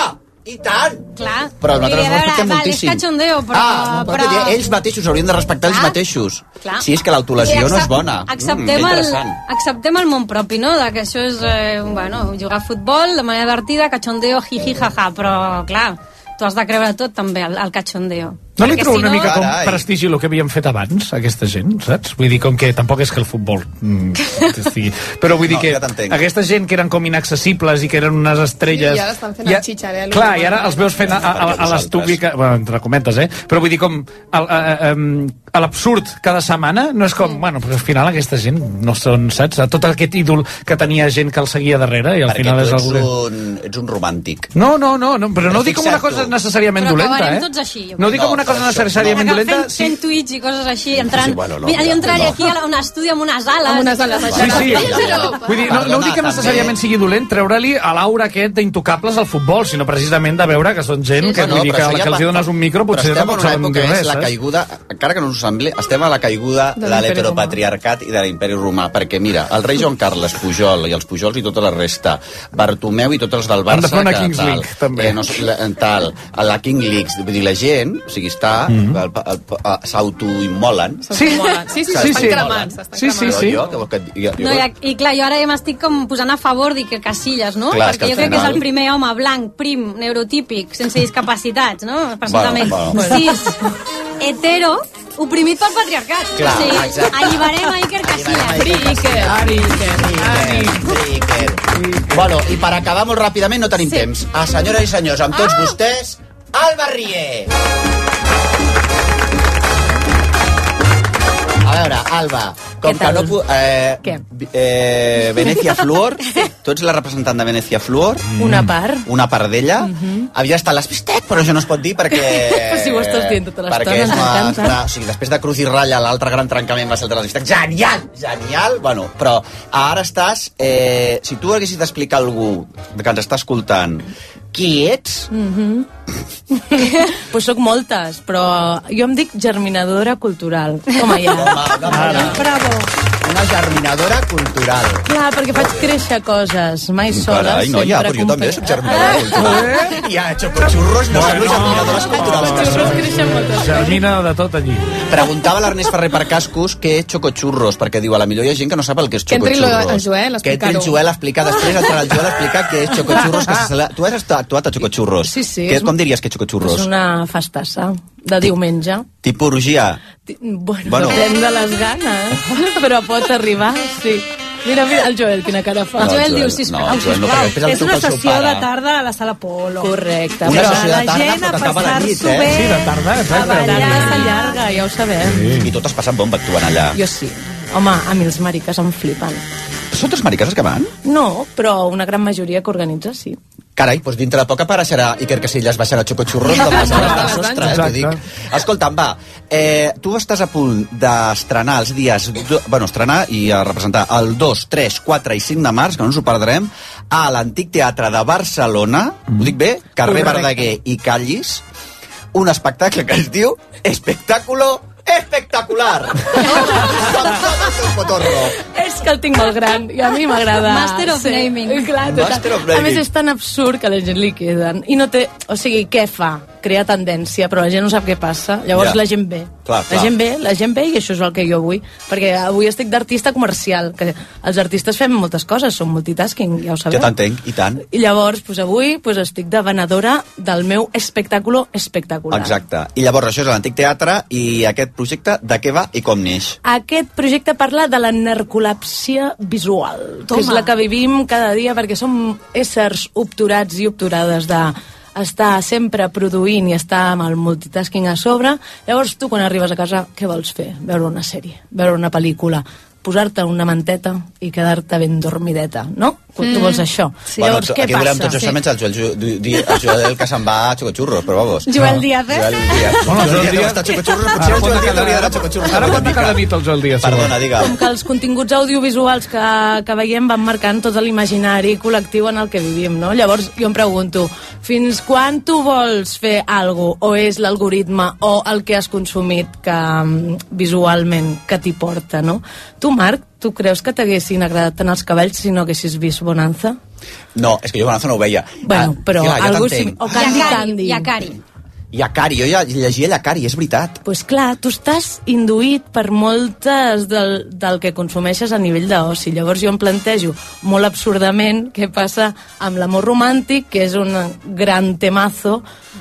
S10: I tant!
S15: Clar.
S10: Però nosaltres
S15: Vull dir, a
S10: no
S15: veure,
S10: respectem
S15: val,
S10: moltíssim.
S15: És cachondeo, però...
S10: Ah, no, però... que Ells mateixos haurien de respectar ells mateixos.
S15: Clar.
S10: Si és que l'autolació
S15: I
S10: no és
S15: accep-
S10: bona.
S15: Acceptem,
S10: Mm,
S15: el,
S10: interessant.
S15: acceptem el món propi, no? De que això és eh, bueno, jugar a futbol de manera divertida, cachondeo, jiji, jaja, però clar, tu has de creure tot també al, al cachondeo.
S11: No li
S15: Perquè
S11: trobo
S15: si
S11: una
S15: no-
S11: mica com prestigi el que havien fet abans, aquesta gent, saps? Vull dir, com que tampoc és que el futbol
S10: [laughs]
S11: mm, estigui... Però vull dir
S10: No,
S11: que
S10: ja t'entenc.
S11: aquesta gent que eren com inaccessibles i que eren unes estrelles...
S12: I ara estan fent
S11: Ja-
S12: el xicharel.
S11: Clar, i ara els veus fent a, a, a l'estupi que... Bueno, entre cometes, eh? Però vull dir, com a, a, a, a l'absurd cada setmana, no és
S15: Mm.
S11: com, bueno, però al final aquesta gent no són, saps? A tot aquest ídol que tenia gent que el seguia darrere i al
S10: Perquè
S11: final
S10: tu
S11: és
S10: ets
S11: algú... que-
S10: un, ets un romàntic.
S11: No, no, no, no però no ho dic com una
S10: Fixa't tu.
S11: cosa necessàriament
S15: Però
S11: dolenta,
S15: acabarem
S11: eh?
S15: tots així, jo
S11: no ho
S15: crec.
S11: dic com una
S10: No,
S11: cosa
S10: per això.
S11: necessàriament
S15: Acabem
S11: dolenta,
S15: fent, fent tuits i coses així, entrant...
S11: Sí, bueno, no,
S15: Mira,
S11: ja,
S15: jo entraré
S11: no.
S15: aquí a un estudi amb unes ales.
S12: Amb unes ales,
S11: Sí, sí. Vull dir, no, no ho dic que necessàriament sigui dolent treure-li a l'aura aquest d'intocables al futbol, sinó precisament de veure que són gent que,
S10: No,
S11: vull dir,
S10: però
S11: que,
S10: això ja
S11: que els
S10: va-
S11: hi dones un micro
S10: però
S11: potser
S10: estem
S11: tampoc
S10: en una
S11: saben eh?
S10: època
S11: dir
S10: que
S11: res.
S10: és la
S11: saps?
S10: caiguda, encara que no us sembli, estem a la caiguda
S11: De
S10: de
S11: l'imperi
S10: l'heteropatriarcat i de l'imperi romà, perquè mira, el rei Joan Carles Pujol i els Pujols i tota la resta, Bartomeu i tots els del
S11: Han de
S10: Barça,
S11: fer una
S10: que
S11: Kings
S10: tal,
S11: League, també.
S10: eh, no, sé, la, tal, a la King League, vull dir, la gent, o sigui, està,
S11: Mhm.
S10: el- el- el- s'autoimmolen.
S12: Sí, sí, sí,
S10: Saps?
S12: s'estan cremant, s'estan
S10: Sí, sí,
S12: cremant.
S10: sí. Jo, que vols que et digui?
S15: No, i, ac- I clar, jo ara ja m'estic com posant a favor d'Iker Casillas, no?
S10: Clar, és
S15: Perquè
S10: que
S15: jo
S10: al
S15: crec que és
S10: final-
S15: el primer home blanc, prim, neurotípic, sense discapacitats, no? Presumptament.
S10: Bueno, bueno.
S15: Cis, hetero, oprimit pel patriarcat.
S10: Clar,
S15: o sigui,
S10: exacte.
S15: alliberem a Iker Casillas.
S12: Ari, Iker,
S10: Bueno, i per acabar molt ràpidament no tenim Ah,
S15: Sí.
S10: temps. A senyores i senyors, amb tots vostès, Alba Rier! A veure, Alba, com que
S14: tal?
S10: no... pu- Eh,
S14: Què?
S10: eh, Venecia Fluor, tu ets la representant de Venecia Fluor.
S14: Mm. Una part.
S10: Una part d'ella.
S14: Mhm.
S10: Havia estat l'Espistec, però això no es pot dir perquè...
S14: [laughs] Però si ho estàs dient tota l'estona,
S10: perquè és una-
S14: m'encanta.
S10: una- O sigui, després de Cruz i Ratlla, l'altre gran trencament va ser el de l'Espistec. Genial! Genial! Bueno, però ara estàs... Eh, si tu haguessis d'explicar a algú que ens està escoltant qui ets,
S14: Mhm. pues sóc moltes, però jo em dic germinadora cultural. Home, ja. Bravo.
S10: una germinadora cultural.
S14: Clar, perquè faig créixer coses, mai sola,
S10: Carai,
S14: sempre
S10: noia, però jo també soc germinadora cultural. I a Chocochurros no són les germinadores culturals.
S14: Ah!
S11: Germina de tot allí.
S10: Preguntava l'Ernest Ferrer per cascos què és xocochurros, perquè diu, a la millor hi ha gent que no sap el que és
S12: Que entri
S10: xocochurros.
S12: el Joel a
S10: Que entri el
S12: explicar-ho.
S10: Joel a explicar, després entrarà el Joel a explicar què és xocochurros. Que se celebra- tu has estat- actuat a xocochurros.
S14: Sí, sí,
S10: Què,
S14: és-
S10: com diries que és
S14: És
S10: xocochurros?
S14: una festassa de diumenge.
S10: Tipo orgia.
S14: Ti- Bueno,
S10: Bueno.
S14: bueno. depèn de les ganes, però pot arribar, sí. Mira, mira, el Joel, quina cara fa.
S10: No, el Joel Joel, diu, "Sisplau, no, el Joel no, sisplau". perquè després em
S15: És una
S10: truca el seu
S15: sessió
S10: pare.
S15: de tarda a la sala Polo.
S14: Correcte.
S10: Una
S14: però
S10: sessió de
S14: la
S10: tarda,
S14: gent a
S10: però que acaba la nit,
S14: passar-s'ho
S10: eh?
S14: bé.
S10: Sí, de tarda, exacte.
S14: La tarda s'allarga, ja ho sabem.
S10: I tu t'has passat bomba actuant allà.
S14: Jo sí. Home, a mi els mariques em flipen.
S10: Són tres maricases que van?
S14: No, però una gran majoria que organitza, sí.
S10: Carai, doncs dintre de poc apareixerà Iker Casillas baixant a Xocochurros de les
S14: Exacte.
S10: ostres, t'ho dic. Escolta'm, va, eh, tu estàs a punt d'estrenar els dies... Do, bueno, estrenar i a representar el 2, 3, 4 i 5 de març, que no ens ho perdrem, a l'Antic Teatre de Barcelona, ho dic bé, carrer
S16: Correcte.
S10: Verdaguer i Callis, un espectacle que es diu Espectáculo Espectacular. Amb el seu Cotorro.
S14: És que el tinc molt gran i a mi m'agrada.
S15: Master of naming.
S14: Clar, total.
S10: Master of naming.
S14: A més, és tan absurd que a la gent li queden. I no té... O sigui, què fa? Crea tendència, però la gent no sap què passa. Llavors
S10: Ja.
S14: la gent ve.
S10: Clar, clar.
S14: La gent ve, la gent ve i això és el que jo vull. Perquè avui estic d'artista comercial. Que els artistes fem moltes coses, som multitasking, ja ho sabeu.
S10: Jo t'entenc, i tant.
S14: I llavors, doncs, avui doncs, estic de venedora del meu espectaculo espectacular.
S10: Exacte. I llavors això és a l'Antic Teatre i aquest projecte de què va i com neix?
S14: Aquest projecte parla de la narcolapsia visual, que és
S15: Toma.
S14: la que vivim cada dia perquè som éssers obturats i obturades de estar sempre produint i estar amb el multitasking a sobre. Llavors, tu quan arribes a casa, què vols fer? Veure una sèrie, veure una pel·lícula, posar-te una manteta i quedar-te ben dormideta, no? Mm.
S15: Mm.
S14: Tu vols això.
S10: Sí. Bueno, Llavors, aquí volem tots això, sí. menys el Joel, Ju- di- di- el Joel que se'n va a Xocochurros, però vamos.
S15: Joel Díaz, eh?
S10: Joel Díaz.
S11: Bueno, el Joel
S10: Joel Díaz
S11: Díaz-
S10: està a Xocochurros, potser el Joel Díaz hauria d'anar a Xocochurros.
S11: Ara pot anar cada nit el Joel Díaz.
S10: Perdona, digue'm.
S14: Com que els continguts audiovisuals que, que veiem van marcant tot l'imaginari col·lectiu en el que vivim, no? Llavors jo em pregunto, fins quan tu vols fer alguna o és l'algoritme o el que has consumit que, mm, visualment que t'hi porta, no? Tu, Marc, tu creus que t'haguessin agradat tant els cabells si no haguessis vist Bonanza?
S10: No, és que jo Bonanza no ho veia.
S14: Bueno, però
S10: Ah, clar, ah, ja
S14: algú
S10: t'entenc.
S14: sí- o Candy Candy.
S15: Cari.
S10: Yakari, jo ja llegia Yakari, és veritat.
S14: Pues clar, tu estàs induït per moltes del, del que consumeixes a nivell d'oci. Llavors jo em plantejo molt absurdament què passa amb l'amor romàntic, que és un gran temazo,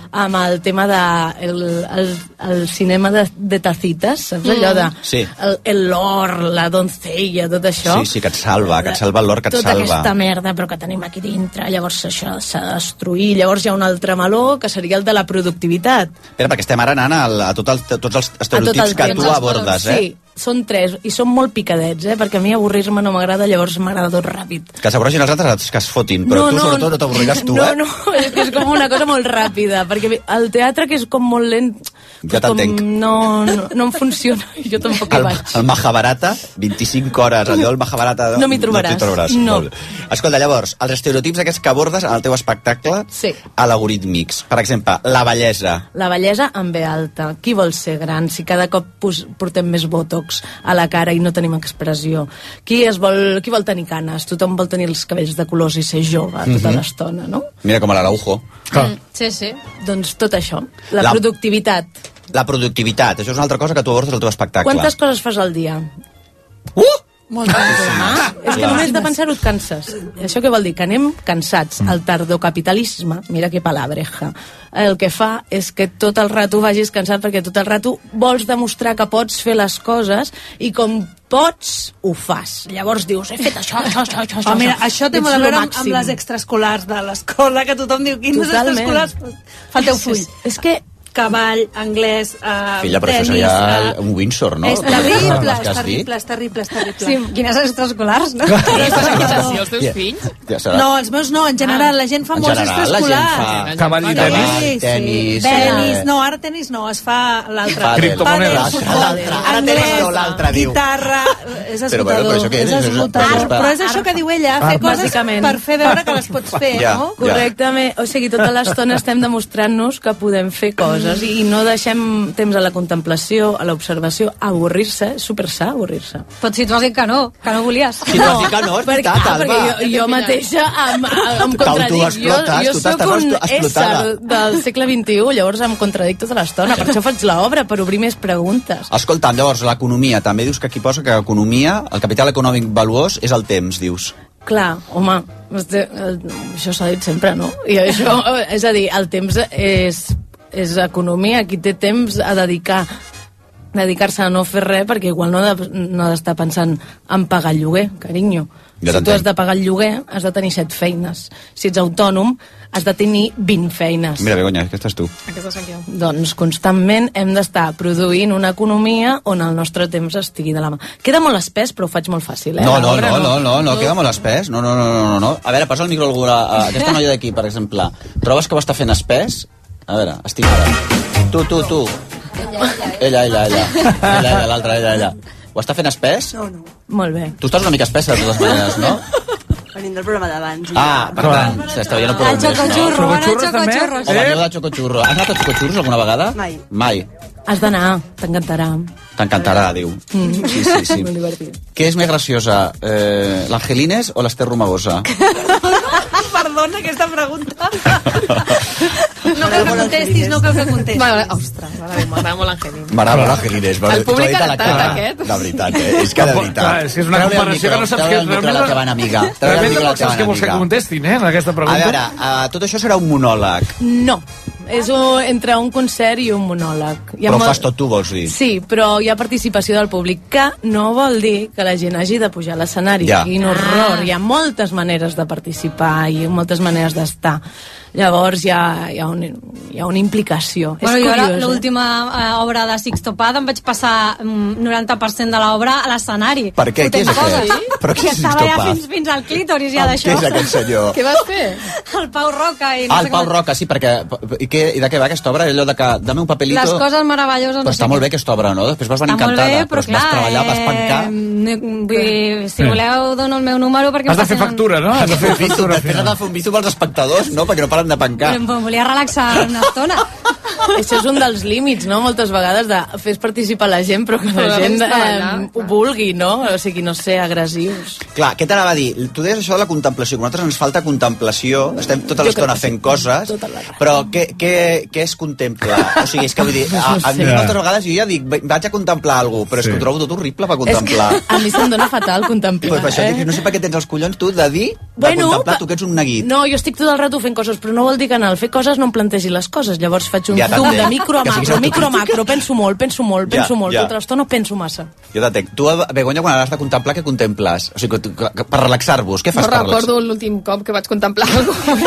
S14: amb el tema de el, el, el cinema de, de tacites, saps allò de
S10: Sí.
S14: el- el l'or, la doncella, tot això.
S10: Mm. Sí, sí, que et salva, que et salva l'or que et
S14: tota
S10: salva.
S14: aquesta merda però que tenim aquí dintre, llavors això s'ha de destruir, llavors hi ha un altre meló que seria el de la productivitat
S10: Espera, perquè estem ara anant al- a, tot el, a tots els
S14: a tot
S10: estereotips
S14: el
S10: que
S14: temps,
S10: tu
S14: els
S10: abordes,
S14: valors.
S10: eh?
S14: Sí, són tres, i són molt picadets, eh? perquè a mi avorrir-me no m'agrada, llavors m'agrada tot ràpid.
S10: Que s'avorregin els altres els que es fotin, però tu sobretot no t'avorriràs
S14: [laughs]
S10: tu,
S14: no,
S10: eh?
S14: No, no, és que és com una cosa molt ràpida, perquè el teatre, que és com molt lent,
S10: Ja
S14: com
S10: t'entenc.
S14: no, no, no em funciona, [laughs] jo tampoc hi
S10: El,
S14: vaig.
S10: el Mahabharata, 25 hores, allò del Mahabharata...
S14: No m'hi trobaràs.
S10: No t'hi trobaràs.
S14: No.
S10: Molt. Escolta, llavors, els estereotips aquests que abordes en el teu espectacle
S14: Sí.
S10: algoritmics. Per exemple, la bellesa.
S14: La bellesa en ve alta. Qui vol ser gran si cada cop pos- portem més botox a la cara i no tenim expressió? Qui, es vol, qui vol tenir canes? Tothom vol tenir els cabells de colors i ser jove tota
S10: Mhm.
S14: l'estona, no?
S10: Mira com a l'Araujo. Mm.
S14: Sí, sí. Doncs tot això, la,
S10: La-
S14: la... productivitat.
S10: La productivitat, això és una altra cosa que tu abordes al teu espectacle.
S14: Quantes coses fas al dia?
S10: Uh! [laughs]
S14: Moltes. Ah, és que
S10: Clar. Mm.
S14: només de pensar-ho et canses. Això què vol dir? Que anem cansats. El tardocapitalisme, mira que palabreja, el que fa és que tot el rato vagis cansat perquè tot el rato vols demostrar que pots fer les coses i com pots, ho fas. Llavors dius, he fet això, això, això,
S12: [laughs]
S14: això.
S12: Oh, mira, això té
S14: Ets
S12: molt a
S14: lo
S12: veure amb,
S14: màxim.
S12: amb les extraescolars de l'escola, que tothom diu, quines
S14: Totalment.
S12: extraescolars? Fa el teu full.
S14: És, és que
S18: cavall anglès, eh,
S10: Filla, però
S18: tenis...
S10: això seria
S18: eh,
S10: un Windsor, no?
S18: És terrible, és
S10: Les que has dit.
S18: terrible, és terrible, és terrible.
S15: Sí, quines extraescolars, no?
S18: Sí,
S12: els teus fills?
S10: Ja serà. Ah.
S18: No, els meus no, en general, la gent fa
S10: En
S18: molts
S10: general, la
S18: extraescolars.
S10: gent fa- Cavall i tenis. Cavall, tenis,
S18: Tenis,
S10: eh,
S18: no, ara tenis no, es fa l'altre.
S10: Pàdel. Criptomonedes.
S18: Pàdel, futbol,
S10: L'altre, ara
S18: anglès,
S10: tenis no, l'altre diu.
S18: Guitarra, és esgotador.
S10: Però, bueno, però això què és?
S18: és?
S10: Això és-
S18: esgotador.
S10: això és per-
S18: Però és
S14: [laughs]
S18: això que diu ella, fer
S10: Art.
S18: coses
S14: Ah, Bàsicament.
S18: per fer veure que les pots fer,
S10: [laughs] Ja,
S18: no?
S10: ja.
S14: Correctament. O sigui, tota l'estona estem demostrant-nos que podem fer coses i no deixem temps a la contemplació, a l'observació, a avorrir-se. És supersà, avorrir-se.
S15: Tot si tu has dit que no, que no volies.
S10: Si tu has dit que no, és
S14: perquè,
S10: veritat,
S14: ah,
S10: Alba.
S14: perquè jo, jo mateixa em, em contradic. Jo,
S10: T'autoexplotes,
S14: jo
S10: tu
S14: sóc
S10: t'estàs
S14: un
S10: autoexplotada.
S14: ésser del segle XXI, llavors em contradic tota l'estona. Per això faig l'obra, per obrir més preguntes.
S10: Escolta, llavors, l'economia. També dius que aquí posa que economia, el capital econòmic valuós és el temps, dius.
S14: Clar, home, este- eh, això s'ha dit sempre, no? I això, [laughs] eh, és a dir, el temps és, és economia, qui té temps a dedicar dedicar-se a no fer res perquè igual no, ha de, no ha d'estar pensant en pagar el lloguer, carinyo.
S10: Ja
S14: si tu
S10: t'entenc.
S14: has de pagar el lloguer, has de tenir set feines. Si ets autònom, has de tenir 20 feines.
S10: Mira, Begoña, aquesta és tu.
S14: Doncs constantment hem d'estar produint una economia on el nostre temps estigui de la mà. Queda molt espès, però ho faig molt fàcil, eh?
S10: No, no,
S14: L'obra
S10: no, no, no, no, queda molt espès. No, no, no, no, no, no. A veure, posa el micro a algú. A, a aquesta noia d'aquí, per exemple. Trobes que ho està fent espès? A veure, estimada. Tu, tu, tu. Ella, ella, ella. Ella, ella, l'altra, ella, ella. Ho està fent espès?
S19: No, no.
S14: Molt bé.
S10: Tu estàs una mica espessa, de totes maneres, no?
S19: Venim del programa d'abans.
S10: Ah, per tant, s'està veient el programa.
S19: El xocotxurro,
S10: no?
S19: ara el xocotxurro.
S10: O la meva de xocotxurro. Has anat a xocotxurros alguna vegada?
S19: Mai.
S10: Mai.
S14: Has d'anar, t'encantarà.
S10: T'encantarà, diu.
S14: Mm.
S10: Sí, sí, sí.
S14: Molt divertit.
S10: Què és més graciosa, eh, l'Angelines o l'Ester Romagosa?
S18: Perdona aquesta
S10: [laughs]
S18: pregunta. No cal que contestis, no cal que contestis.
S12: Vale, ostres, vale, m'agrada molt l'Angelina.
S10: M'agrada molt l'Angelines.
S12: El públic ha notat, aquest.
S10: De veritat, eh? És que de veritat.
S11: Ah, Clar, és que és una
S10: Treu-li el
S11: comparació
S10: micro,
S11: que no saps
S10: treu-li
S11: què-
S10: el micro a
S11: realment-
S10: la teva
S11: [laughs]
S10: enemiga. Treu-li el
S11: realment
S10: micro a
S11: no
S10: la
S11: saps
S10: teva
S11: què vols que
S10: enemiga.
S11: contestin, eh, en aquesta
S10: A
S11: pregunta.
S10: veure, eh, tot això serà un monòleg,
S14: No, és un, entre un concert i un monòleg. Hi ha
S10: però ho
S14: molt-
S10: fas tot tu, vols dir?
S14: Sí, però hi ha participació del públic, que no vol dir que la gent hagi de pujar a l'escenari.
S10: Ja.
S14: Ja. Quin horror! Hi ha moltes maneres de participar i moltes maneres d'estar. Llavors hi ha, hi, ha un, hi ha una implicació.
S15: Bueno,
S14: és
S15: jo ara
S14: curiós, eh?
S15: l'última eh, obra de Sixto Paz em vaig passar mm, 90% de l'obra a l'escenari.
S10: Per què? Qui és
S15: Fotent
S10: aquest?
S15: coses.
S10: Però qui
S15: I
S10: és
S15: estava
S10: Sixto
S15: ja
S10: Paz?
S15: fins, fins al clítoris ja
S10: Ah,
S15: d'això.
S10: qui és aquest senyor? Què
S12: vas fer?
S15: El Pau Roca. I no
S10: Ah,
S15: sé
S10: el
S15: com-
S10: Pau Roca, sí, perquè... I, què, i de què va aquesta obra? Allò de que... Dame un papelito...
S15: Les coses meravelloses.
S10: Però
S15: no
S10: està
S15: sé
S10: molt
S15: què.
S10: bé aquesta obra, no? Després vas venir
S15: Està molt
S10: encantada,
S15: bé,
S10: però,
S15: però,
S10: es
S15: clar,
S10: vas treballar, vas pencar...
S15: eh, vull dir, si
S10: Sí.
S15: voleu, dono el meu número perquè... em facin-
S10: no? Has de fer factura. Després has de fer un bizu pels espectadors, no? Perquè no paren de pencar.
S15: Però em volia relaxar una estona.
S14: [laughs] Això és un dels límits, no?, moltes vegades, de fes participar la gent, però que la
S12: Però
S14: gent
S12: vens a ballar,
S14: eh, ho vulgui, no? O sigui, no ser agressius.
S10: Clar, què t'anava a dir? Tu deies això de la contemplació, que a nosaltres ens falta contemplació, estem tota
S14: Jo
S10: l'estona
S14: crec que
S10: fent coses,
S14: Tota
S10: però què, què, què es contempla? O sigui, és que
S14: [laughs]
S10: vull dir, a, a mi
S14: Ja.
S10: moltes vegades jo ja dic, "Ve- vaig a contemplar alguna però és que ho trobo tot horrible per contemplar.
S14: És que a mi se'm dona fatal contemplar,
S10: Pues per això
S14: eh?
S10: dic, no sé per què tens els collons tu de dir, de
S14: Bueno,
S10: contemplar,
S14: pa-
S10: tu que ets un neguit.
S14: No, jo estic tot el rato fent coses, però no vol dir que en el fer coses no em plantegi les coses. Llavors faig un
S10: Ja
S14: ja, zoom
S10: t'entenc.
S14: de micro a
S10: Que siguis
S14: macro, micro a
S10: autocrítica.
S14: macro, penso molt, penso molt,
S10: Ja,
S14: penso molt,
S10: ja.
S14: tota l'estona penso massa.
S10: Jo detec. Tu, Begoña, quan has de contemplar, què contemples? O sigui, que tu- que, que, per relaxar-vos, què
S12: No
S10: fas per relaxar-vos?
S12: recordo l'últim cop que vaig contemplar algú.
S10: [laughs]
S12: [laughs]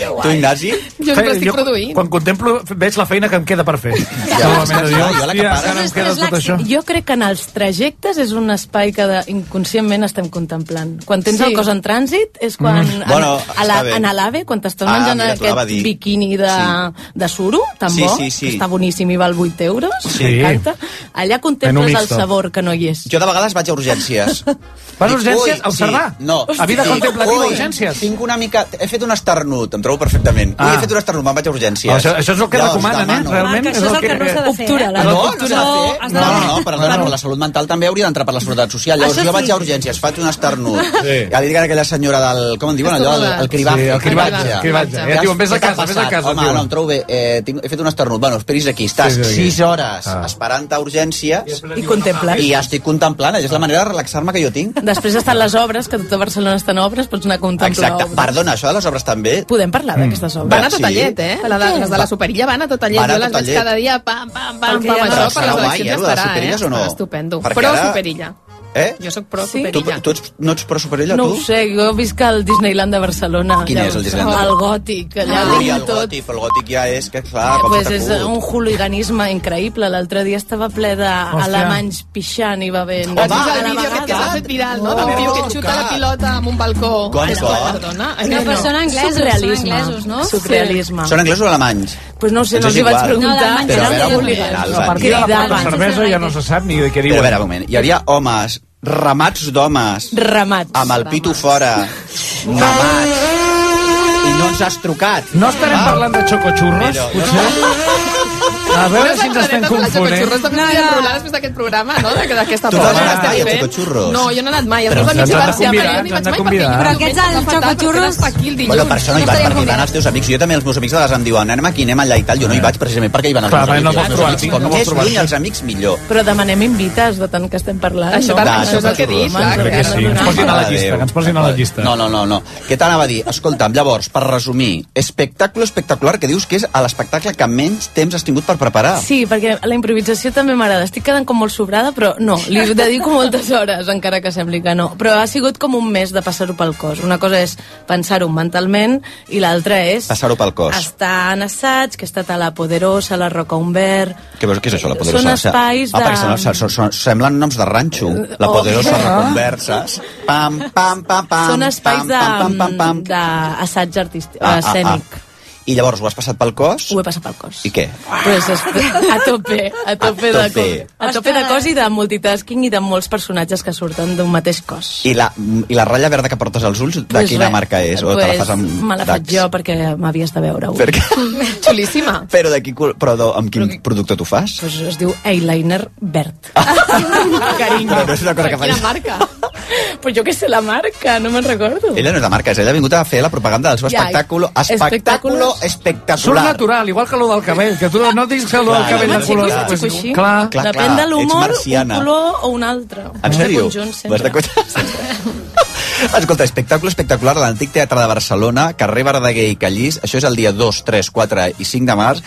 S10: Tu, Ignasi?
S12: Jo sempre estic produint.
S11: Quan contemplo, veig la feina que em queda per fer.
S10: Ja,
S11: Segurament,
S10: és que
S11: diu,
S10: jo la que
S11: "Hòstia,
S10: paro".
S11: encara em queda tot això.
S14: Jo crec que en els trajectes és un espai que de, inconscientment estem contemplant. Quan tens
S12: Sí.
S14: sí. el cos en trànsit és quan...
S10: Mm.
S14: en-
S10: Bueno,
S14: a la,
S10: està bé.
S14: en a l'AVE, quan t'estàs
S10: Ah,
S14: menjant
S10: mira, t'ho anava a
S14: aquest
S10: dir.
S14: biquini de, sí. de suro, tan
S10: Sí,
S14: bo,
S10: sí, sí.
S14: que està boníssim i val 8 euros,
S10: Sí.
S14: m'encanta, allà
S10: Menú
S14: contemples el
S10: mixto.
S14: sabor que no hi és.
S10: Doncs Jo de vegades vaig a urgències.
S11: [laughs] Vas a
S10: Dic,
S11: urgències
S10: "Ui,
S11: a observar?
S10: Sí, no.
S11: A vida
S10: Dic,
S11: contemplativa,
S10: "Ui,
S11: a urgències?"
S10: Tinc una mica... He fet un esternut, em trobo perfectament. Ah.
S11: Ah.
S10: Ui, he fet un esternut, me'n vaig a urgències.
S11: Això- això és el que
S10: Llavors,
S11: recomanen, eh?
S10: demano-
S11: Realment
S18: Marc, això és el que no s'ha de fer,
S14: Obtura,
S18: eh?
S14: la
S10: No, no
S14: obtura.
S10: s'ha de fer.
S18: has
S10: No,
S18: de-
S10: no, per exemple, la salut mental també hauria d'entrar per la seguretat social. Llavors
S18: Això
S10: jo vaig
S18: sí.
S10: a urgències, faig un esternut.
S11: Sí.
S10: Ja li dic a aquella senyora del... Com en diuen allò? El, el cribatge.
S11: Sí, el cribatge, el cribatge. Ja et diuen, "Ves a
S10: Què t'ha
S11: casa, ves a
S10: passat?"
S11: casa, et
S10: Home,
S11: diuen.
S10: no, em trobo bé. Eh, tinc, he fet un esternut. Bueno, esperis aquí. Estàs
S11: Sí, sí, aquí.
S10: 6 hores
S11: Ah.
S10: esperant a urgències.
S14: I contemplant.
S10: I estic contemplant. És la manera de relaxar-me que jo tinc.
S14: Després estan les obres, que tota Barcelona està en obres, pots anar a contemplar
S10: Exacte.
S14: obres.
S10: Perdona, això de les obres també...
S14: Podem parlar
S11: Mm.
S14: d'aquestes obres?
S12: Van a
S10: Sí.
S12: Totallet, eh? La de, les de la Superilla van a Totallet.
S10: Van a
S12: Jo les veig
S10: Totallet.
S12: cada dia, pam, pam, pam,
S10: Perquè
S12: pam,
S10: ja
S12: això
S10: no-
S12: per
S10: Serà
S12: les
S10: guai,
S12: eleccions
S10: eh, lo de
S12: estarà,
S10: Superilles
S12: eh?
S10: o no?
S12: Estarà estupendo.
S10: Perquè
S12: Però
S10: ara-
S12: Superilla.
S10: Eh?
S12: Jo sóc pro
S14: Sí?
S10: Tu, tu ets, no ets pro superilla,
S14: no
S10: tu?
S14: ho sé, jo visc al Disneyland de Barcelona.
S10: Quin és el Disneyland?
S14: El gòtic, allà
S10: Ui,
S14: ah,
S10: el
S14: tot.
S10: gòtic, però el gòtic ja és, que clar,
S12: Ah,
S10: com
S14: pues
S10: s'ha
S14: és
S10: cregut.
S14: un hooliganisme increïble. L'altre dia estava ple d'alemanys pixant i va haver...
S12: Has vist el vídeo aquest que s'ha fet viral, no? Del tio Oh, que xuta la pilota amb un balcó.
S10: Com,
S12: És
S10: com?
S12: que, Perdona.
S15: No, però són anglesos, són
S14: Surrealisme.
S15: anglesos, no?
S14: Surrealisme.
S10: Són anglesos o alemanys?
S14: Pues no ho sé,
S10: Ens
S14: no
S10: és
S14: els hi vaig
S10: igual.
S14: preguntar.
S15: No, alemanys,
S10: Però a veure,
S15: eren
S10: un moment,
S15: anglesos.
S10: als
S11: A partir de la
S14: Cridaven,
S11: porta de cervesa ja no se sap ni de què
S10: Però a
S11: diuen.
S10: veure, un moment. Hi havia homes, ramats d'homes,
S14: Ramats.
S10: amb el pito fora, mamats, i no ens has trucat.
S11: No estarem parlant de xocotxurros,
S10: Però-
S11: potser? A veure si ens estem confonent.
S12: Xurros també no, no. enrolar després d'aquest programa, no? De- D'aquesta
S11: Tu
S12: forma
S11: has
S12: que
S11: anat
S12: estem
S11: mai a
S12: fent.
S10: Xurros?
S12: No, jo no he anat mai. Els
S10: Però
S12: meus amics
S10: ens
S12: hi
S10: han
S12: van sempre,
S10: convidar,
S12: jo no hi
S10: ens
S12: vaig
S10: han
S12: mai
S10: convidat.
S12: perquè...
S10: Però
S12: aquests dels xocotxurros... Aquí el dilluns.
S10: Bueno, per això no hi vas, perquè hi van
S12: estaríem convidats.
S10: els teus amics. Jo també els meus amics de les em diuen, anem aquí, anem allà i tal. Jo no hi vaig precisament perquè hi van els
S11: Clar,
S10: meus
S11: perquè
S10: amics. i
S11: no
S10: els
S11: vols
S10: meus
S11: trobar
S10: amics,
S11: cinc,
S10: Com
S11: no vols
S10: més
S11: trobar
S10: lluny
S11: cinc.
S10: els amics, millor.
S14: Però demanem invites de tant que estem parlant.
S12: Això
S14: no?
S12: també,
S10: Va,
S12: això és el que he dit, clar,
S14: Home,
S12: que
S14: ens
S12: sí.
S14: ho donaran.
S11: posin a la
S10: Mare de
S11: llista,
S10: Déu.
S11: que ens posin a la llista.
S10: No, no, no, no. Què t'anava a dir? Escolta'm, llavors, per resumir, espectacle espectacular que dius que és l'espectacle que menys temps has tingut per preparar.
S14: Sí, perquè la improvisació també m'agrada. Estic quedant com molt sobrada, però no, li dedico moltes hores, encara que sembli que no. Però ha sigut com un mes de passar-ho pel cos. Una cosa és pensar-ho mentalment i l'altra és
S10: Passar-ho pel cos.
S14: estar en assaig, que he estat a la Poderosa, a la Roca Umber...
S10: Què, veus, què és això, la
S14: Són
S10: poderosa?
S14: espais
S10: Ah,
S14: de-
S10: perquè semblen, són- són- semblen noms de ranxo. La
S14: Oh.
S10: poderosa,
S14: Ah.
S10: la converses... Pam, pam, pam, pam...
S14: Són espais
S10: pam, pam, pam, pam, pam.
S14: de- d'assaig artístic,
S10: Ah, ah, ah.
S14: escènic.
S10: I llavors ho has passat pel cos?
S14: Ho he passat pel cos.
S10: I què?
S14: Pues es- [laughs] a tope, a tope,
S10: A
S14: de
S10: tope.
S14: cos. A tope de cos i de multitasking i de molts personatges que surten d'un mateix cos.
S10: I la, I la ratlla verda que portes als ulls, de
S14: Pues
S10: quina
S14: res,
S10: marca és? O te la
S14: pues,
S10: fas amb...
S14: Me la faig
S10: Dax?
S14: jo perquè m'havies de veure [laughs] avui.
S10: Perquè,
S12: Xulíssima.
S10: [laughs] però de qui, però de, amb quin producte tu fas?
S14: Pues es diu eyeliner verd. Carinyo.
S10: Però no és una cosa que
S14: [laughs]
S10: facis.
S14: Quina marca? pues jo què sé, la marca, no me'n recordo.
S10: Ella no és de marques, ella ha vingut a fer la propaganda del seu
S14: Ja,
S10: espectàculo, espectàculo
S14: espectàculos.
S11: Surt
S10: espectacular.
S11: natural, igual que lo del cabell, que tu no diguis que lo del
S10: Clar,
S11: cabell de
S10: home,
S11: color...
S10: xico,
S11: pues,
S10: xico, així.
S11: Clar,
S10: Ah. Clar,
S14: Depèn de
S10: ets
S14: l'humor, un
S10: marciana.
S14: color o un altre.
S10: En
S14: És de
S10: sèrio?
S14: Conjunt,
S10: Vas
S14: sempre.
S10: de compte? [laughs] Escolta, espectacle espectacular de l'Antic Teatre de Barcelona, carrer Verdaguer i Callís. Això és el dia 2, 3, 4 i 5 de març.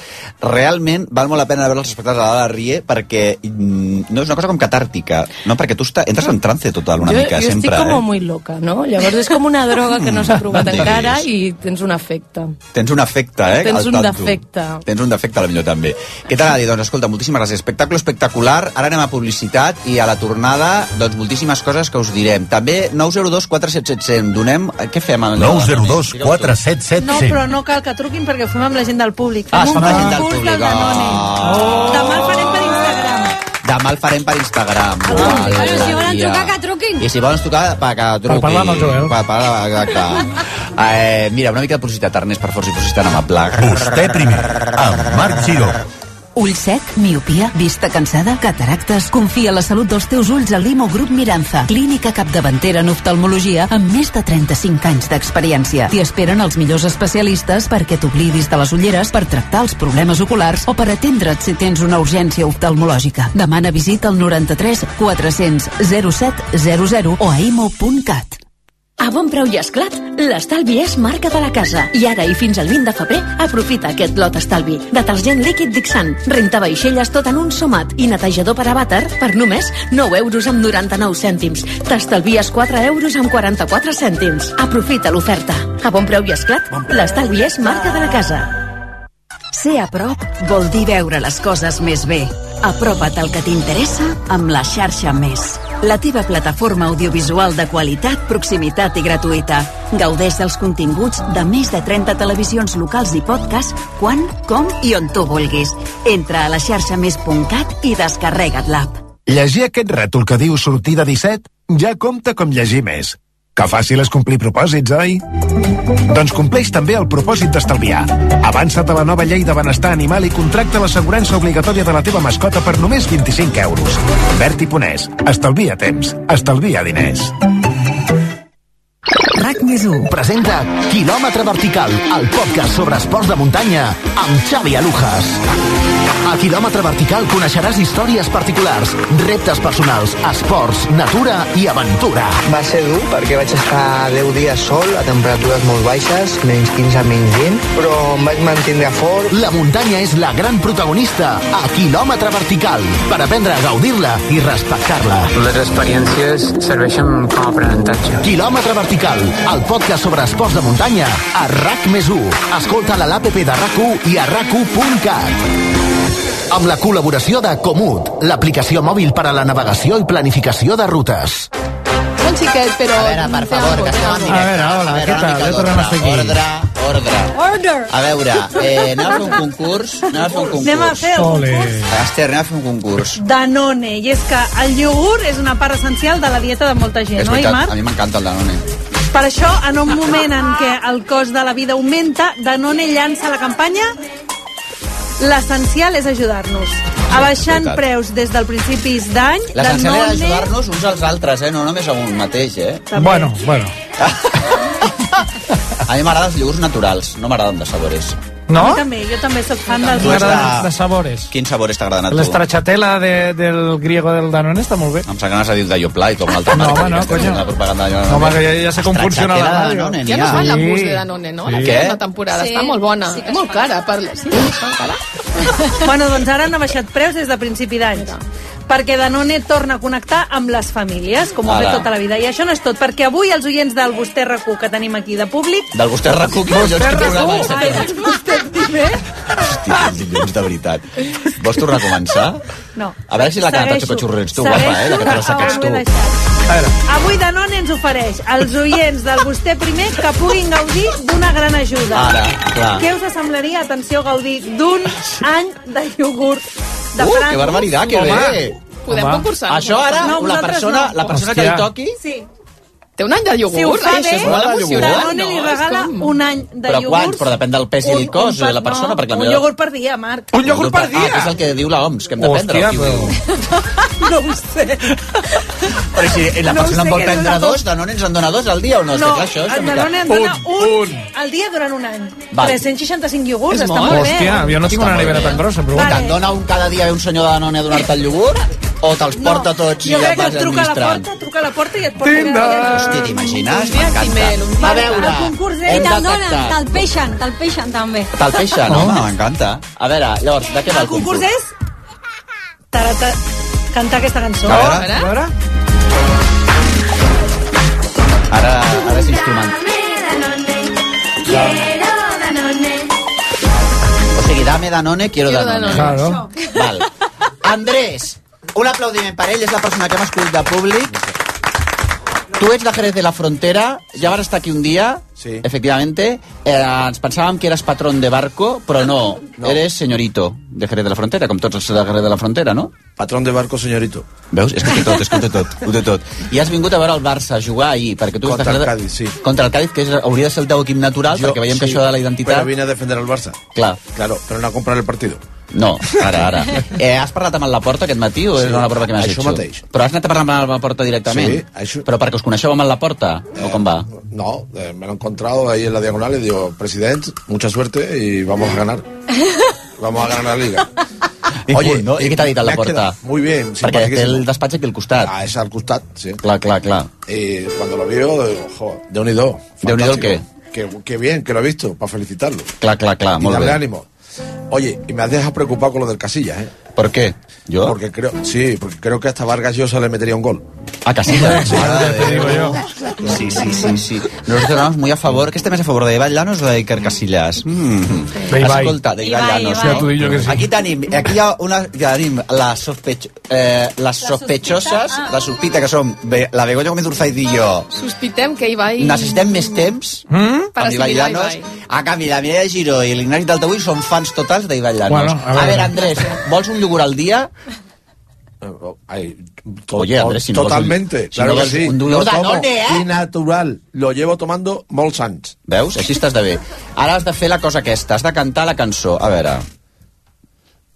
S10: Realment val molt la pena veure els espectacles de la Rie perquè mm, no és una cosa com catàrtica, no? Perquè tu està, entres en trance total una
S14: jo,
S10: mica,
S14: jo
S10: sempre.
S14: estic com
S10: eh? Mm.
S14: muy loca, no? Llavors és com una droga que no s'ha provat
S10: [laughs] no em
S14: encara
S10: diguis.
S14: i tens un efecte.
S10: Tens un efecte, eh?
S14: Tens
S10: al
S14: un
S10: tanto.
S14: defecte.
S10: Tens un defecte, a la millor també. Què t'ha dit? Doncs escolta, moltíssimes gràcies. Espectacle espectacular. Ara anem a publicitat i a la tornada, doncs, moltíssimes coses que us direm. També 902 4777. Donem... eh, Què fem? Amb
S13: 902 4777.
S18: No, però no cal que truquin perquè ho fem amb la gent del públic. Fem
S10: Ah, es fa
S18: un
S10: amb la gent del
S18: concurs
S10: públic.
S18: del Danone.
S10: Oh.
S18: Demà el farem per Instagram. Ah,
S10: Demà el farem per Instagram.
S15: Bueno, si volen
S10: Maria.
S15: trucar, que truquin.
S10: I si volen trucar, pa, que truqui.
S11: parlar amb el Joel.
S10: Pa, pa, exacte. Eh, mira, una mica de publicitat, Ernest, per favor, si fossis tan amable.
S13: Vostè primer, amb Marc Giró.
S20: Ull sec, miopia, vista cansada, cataractes... Confia la salut dels teus ulls a l'Imogrup Miranza, clínica capdavantera en oftalmologia amb més de 35 anys d'experiència. T'hi esperen els millors especialistes perquè t'oblidis de les ulleres per tractar els problemes oculars o per atendre't si tens una urgència oftalmològica. Demana visita al 93 400 0700 o a imo.cat.
S21: A bon preu i esclat, l'estalvi és marca de la casa. I ara i fins al 20 de febrer, aprofita aquest lot estalvi. Detergent líquid Dixant, renta vaixelles tot en un somat i netejador per a vàter per només 9 euros amb 99 cèntims. T'estalvies 4 euros amb 44 cèntims. Aprofita l'oferta. A bon preu i esclat, l'estalvi és marca de la casa.
S22: Ser a prop vol dir veure les coses més bé. Apropa't el que t'interessa amb la xarxa Més. La teva plataforma audiovisual de qualitat, proximitat i gratuïta. Gaudeix dels continguts de més de 30 televisions locals i podcast quan, com i on tu vulguis. Entra a la xarxa més.cat i descarrega't l'app.
S23: Llegir aquest rètol que diu sortida 17 ja compta com llegir més. Que fàcil és complir propòsits, oi? Doncs compleix també el propòsit d'estalviar. Avança't a la nova llei de benestar animal i contracta l'assegurança obligatòria de la teva mascota per només 25 euros. Berti Ponès. Estalvia temps. Estalvia diners.
S20: RAC més 1.
S2: Presenta Kilòmetre Vertical, el podcast sobre esports de muntanya amb Xavi Alujas. A Kilòmetre Vertical coneixeràs històries particulars, reptes personals, esports, natura i aventura.
S6: Va ser dur perquè vaig estar 10 dies sol, a temperatures molt baixes, menys 15, menys 20, però em vaig mantenir a fort.
S2: La muntanya és la gran protagonista a Kilòmetre Vertical per aprendre a gaudir-la i respectar-la.
S7: Les experiències serveixen com a aprenentatge.
S2: Kilòmetre Vertical, el podcast sobre esports de muntanya a RAC més 1. Escolta a l'APP de RAC1 i a rac1.cat. Amb la col·laboració de Comut, l'aplicació mòbil per a la navegació i planificació de rutes.
S12: Un xiquet, però...
S10: A veure, per favor, que estem en directe. A veure, una mica d'ordre, ordre, ordre.
S18: Order!
S10: A veure, eh, anem a fer un concurs. Anem a fer un concurs.
S18: Anem a fer un Ole. concurs.
S10: Esther, anem a fer un concurs.
S18: Danone, i és que el iogurt és una part essencial de la dieta de molta gent,
S10: És
S18: no, Imar?
S10: veritat, a mi m'encanta el Danone.
S18: Per això, en un moment en què el cost de la vida augmenta, Danone llança la campanya L'essencial és ajudar-nos. Abaixant
S10: veritat.
S18: preus des del principis d'any,
S10: L'essencial era
S18: Danone...
S10: ajudar-nos uns als altres, eh? no només a un mateix. Eh?
S18: També. Bueno,
S10: bueno. [laughs] a mi m'agraden els iogurts naturals, no m'agraden de sabores.
S18: A mi també, jo també soc fan dels...
S11: de sabores.
S10: Quins sabores t'agraden a tu?
S11: L'estrachatela de, del griego del Danone està molt bé.
S10: Em sap ganes de dir de Yoplait o alguna altra
S11: No,
S10: marca.
S11: home, no,
S10: que estem
S11: coño.
S10: fent La propaganda de
S11: Home, que ja- ja sé com funciona la
S10: Estracciatela de
S11: ràdio.
S10: Danone,
S11: Ja
S10: n'hi
S11: no
S10: ha.
S11: fan
S12: La
S11: Sí.
S12: bus de Danone, no? La
S10: Sí.
S12: primera
S10: Què?
S12: temporada.
S18: Sí.
S12: Està molt bona.
S18: Sí que
S12: molt cara. Per... Sí, està cara.
S18: [laughs] Bueno, doncs ara han abaixat preus des de principi d'any perquè Danone torna a connectar amb les famílies, com ho ha
S10: Ara.
S18: fet tota la vida. I això no és tot, perquè avui els oients del Vostè RAC1 que tenim aquí de públic...
S10: Del vostè recu, que collons, quin programa és
S18: Ai, doncs
S10: aquest?
S18: vostè eh? primer?
S10: Hosti, quins dilluns, de veritat. Vols tornar a començar?
S18: No.
S10: A veure si la cantat
S18: Segueixo.
S10: de xorrents, tu, guapa, eh?
S18: Segueixo
S10: La que te la saques
S18: on ho
S10: tu.
S18: he Avui Danone ens ofereix als oients del Vostè Primer que puguin gaudir d'una gran ajuda.
S10: Ara, clar.
S18: Què us semblaria, atenció, gaudir d'un any de iogurt de
S10: Uh,
S18: Franco?
S10: que barbaritat, que
S18: Home.
S10: bé.
S12: Podem concursar.
S10: Això ara,
S18: No,
S10: la
S18: vosaltres
S10: persona,
S18: no.
S10: la persona que li
S18: Hòstia.
S10: toqui...
S18: Sí.
S12: Té un any de iogurt.
S18: Si ho fa bé,
S10: Sí, sí, és molt de iogurt.
S18: Danone li
S12: No, és
S18: regala
S12: com-
S18: un any de
S10: Però
S18: iogurt.
S10: quants? Però depèn del pes i el cos de la persona, perquè la
S18: Un
S10: meva-
S18: iogurt per dia, Marc.
S10: Un iogurt per dia! Ah, que és el que diu la OMS, que hem de prendre.
S11: Hòstia,
S10: el tio.
S18: No ho sé.
S10: Però si la
S18: No ho
S10: persona
S18: sé,
S10: en vol
S18: que
S10: prendre
S18: dona dos.
S10: dos, Danone ens en dona dos al dia o no? És que clar, això és
S18: el
S10: una
S18: Danone en
S10: mica-
S18: dona un, al dia durant un any.
S10: Val.
S18: 365 iogurts,
S12: És
S18: està
S12: molt.
S18: molt bé. eh?
S11: Hòstia, jo no tinc
S10: Està
S11: una
S10: molt
S11: nevera
S10: bé.
S11: tan grossa, però...
S18: Vale.
S10: Te'n dona un cada dia ve un senyor de Danone a donar-te el iogurt o te'ls porta tots i
S18: jo
S10: ja
S18: crec que
S10: vas
S18: et truca a la
S10: administrant?
S18: porta, truca a la porta i et porta...
S10: Tinder!
S18: cada dia.
S10: Hosti, t'imagines?
S12: Un dia Ximel, un
S10: M'encanta.
S12: dia
S10: A veure,
S15: El
S18: concurs
S15: I
S10: hem de
S15: te'l donen,
S10: pactar.
S15: te'l peixen, te'l peixen també.
S10: Te'l peixa, no?
S11: Oh.
S10: Home, m'encanta. A veure, llavors, de què
S18: El
S10: va el
S18: concurs
S10: concurs?
S18: és... Tarata, cantar aquesta cançó.
S10: A veure.
S11: A veure?
S18: eh?
S10: Ara, ara és instrument. O sigui, dame Danone, quiero
S12: Quiero
S10: Danone.
S11: Claro.
S10: Val. Andrés, un aplaudiment per ell, és la persona que hem escollit de públic. Tu ets de Jerez de la Frontera, ja vas estar aquí un dia,
S24: Sí.
S10: efectivamente. Eh, ens pensàvem que eres patrón de barco, però no, no, eres señorito de Jerez de la Frontera, com tots els de Jerez de la Frontera, no?
S24: Patrón de barco, señorito.
S10: Veus? És que ho té tot, és que ho té tot, ho té tot. I has vingut a veure el Barça jugar ahir, perquè tu
S24: Contra
S10: ets de
S24: el
S10: Jerez...
S24: Cádiz, sí.
S10: Contra el Cádiz, que és, hauria de ser el teu equip natural, jo, perquè veiem que
S24: sí,
S10: això de la identitat...
S24: Pero vine a defender al Barça.
S10: Clar.
S24: Claro, pero no a comprar el partido.
S10: No, ara, ara. [laughs] Eh, has parlat amb la porta aquest matí o és
S24: Sí,
S10: una prova que m'has
S24: això
S10: dit tu?
S24: mateix.
S10: Però has anat a parlar amb la porta directament?
S24: Sí, això-
S10: Però perquè us coneixeu amb la porta? o com va?
S24: No, eh, me lo he encontrado ahí en la diagonal y digo, presidente, mucha suerte y vamos a
S10: [laughs]
S24: ganar. Vamos a ganar la liga. eh,
S10: I cool, no? I què t'ha dit a la
S24: me has
S10: porta?
S24: quedado Muy bien.
S10: perquè té el
S24: simpaticísimo.
S10: despatx aquí al costat.
S24: Ah, es al costat, sí.
S10: Clar, clar, clar.
S24: Y cuando lo vio, digo, jo, de unido.
S10: Déu-n'hi-do què?
S24: Que, que bien, que lo he visto, para felicitarlo.
S10: Clar, clar, clar,
S24: y
S10: molt
S24: darle
S10: bé.
S24: ánimo. Oye, y me has dejado preocupado con lo del Casillas, ¿eh?
S10: Per què? Jo?
S24: Porque creo, sí, porque creo que hasta Vargas Llosa le metería un gol.
S10: A Casillas.
S24: Madre de Dios.
S10: Sí, sí, sí, sí. Nosotros estamos muy a favor. ¿Qué estáis a favor de Ibai Llanos o de Iker Casillas? Mm.
S11: De Ibai.
S10: Escolta, de
S15: Ibai,
S10: Ibai Llanos,
S15: Ibai. Ja
S11: t'ho dic jo que sí.
S10: Aquí tenim, aquí hi ha una, tenim les, sospech, eh, les sospechoses,
S12: sospita, ah.
S10: la sospita que som Be- la Begoña Gómez Urzaiz i jo.
S12: Sospitem que hi va i...
S10: Necessitem més temps mm?
S12: Per
S10: amb Ibai
S12: assimilar
S10: Llanos. Ah,
S12: Ibai.
S10: A canvi, la Mireia Giró i l'Ignasi Taltavull són fans totals d'Ibai Llanos.
S11: Bueno, a
S10: a,
S11: veure.
S10: veure, Andrés, vols un yogur al dia?
S24: Ay, to-
S10: Oye, Andrés, si no
S24: totalmente,
S10: vols- si
S24: claro
S10: no
S24: que
S10: vols
S24: sí.
S10: un
S24: Lo
S10: dolor
S24: tomo
S10: Danone, eh?
S24: y natural. Lo llevo tomando molts anys.
S10: Veus? Així estàs de bé. Ara has de fer la cosa aquesta, has de cantar la cançó. A veure...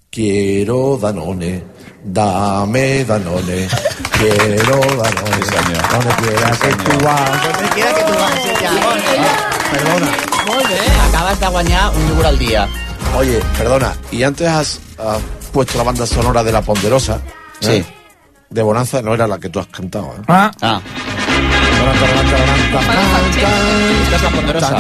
S24: Quiero Danone, dame Danone, quiero ganar. Donde quiera que tú vas.
S10: Donde quiera que tu vagis, ja. Perdona. Molt bé. Acabes de guanyar un llibre al dia.
S24: Oye, perdona, y antes has, has puesto la banda sonora de La Ponderosa. Sí. De Bonanza no era la que tú has cantado, ¿eh?
S11: Ah.
S10: Ah.
S24: Esta
S10: es la ponderosa.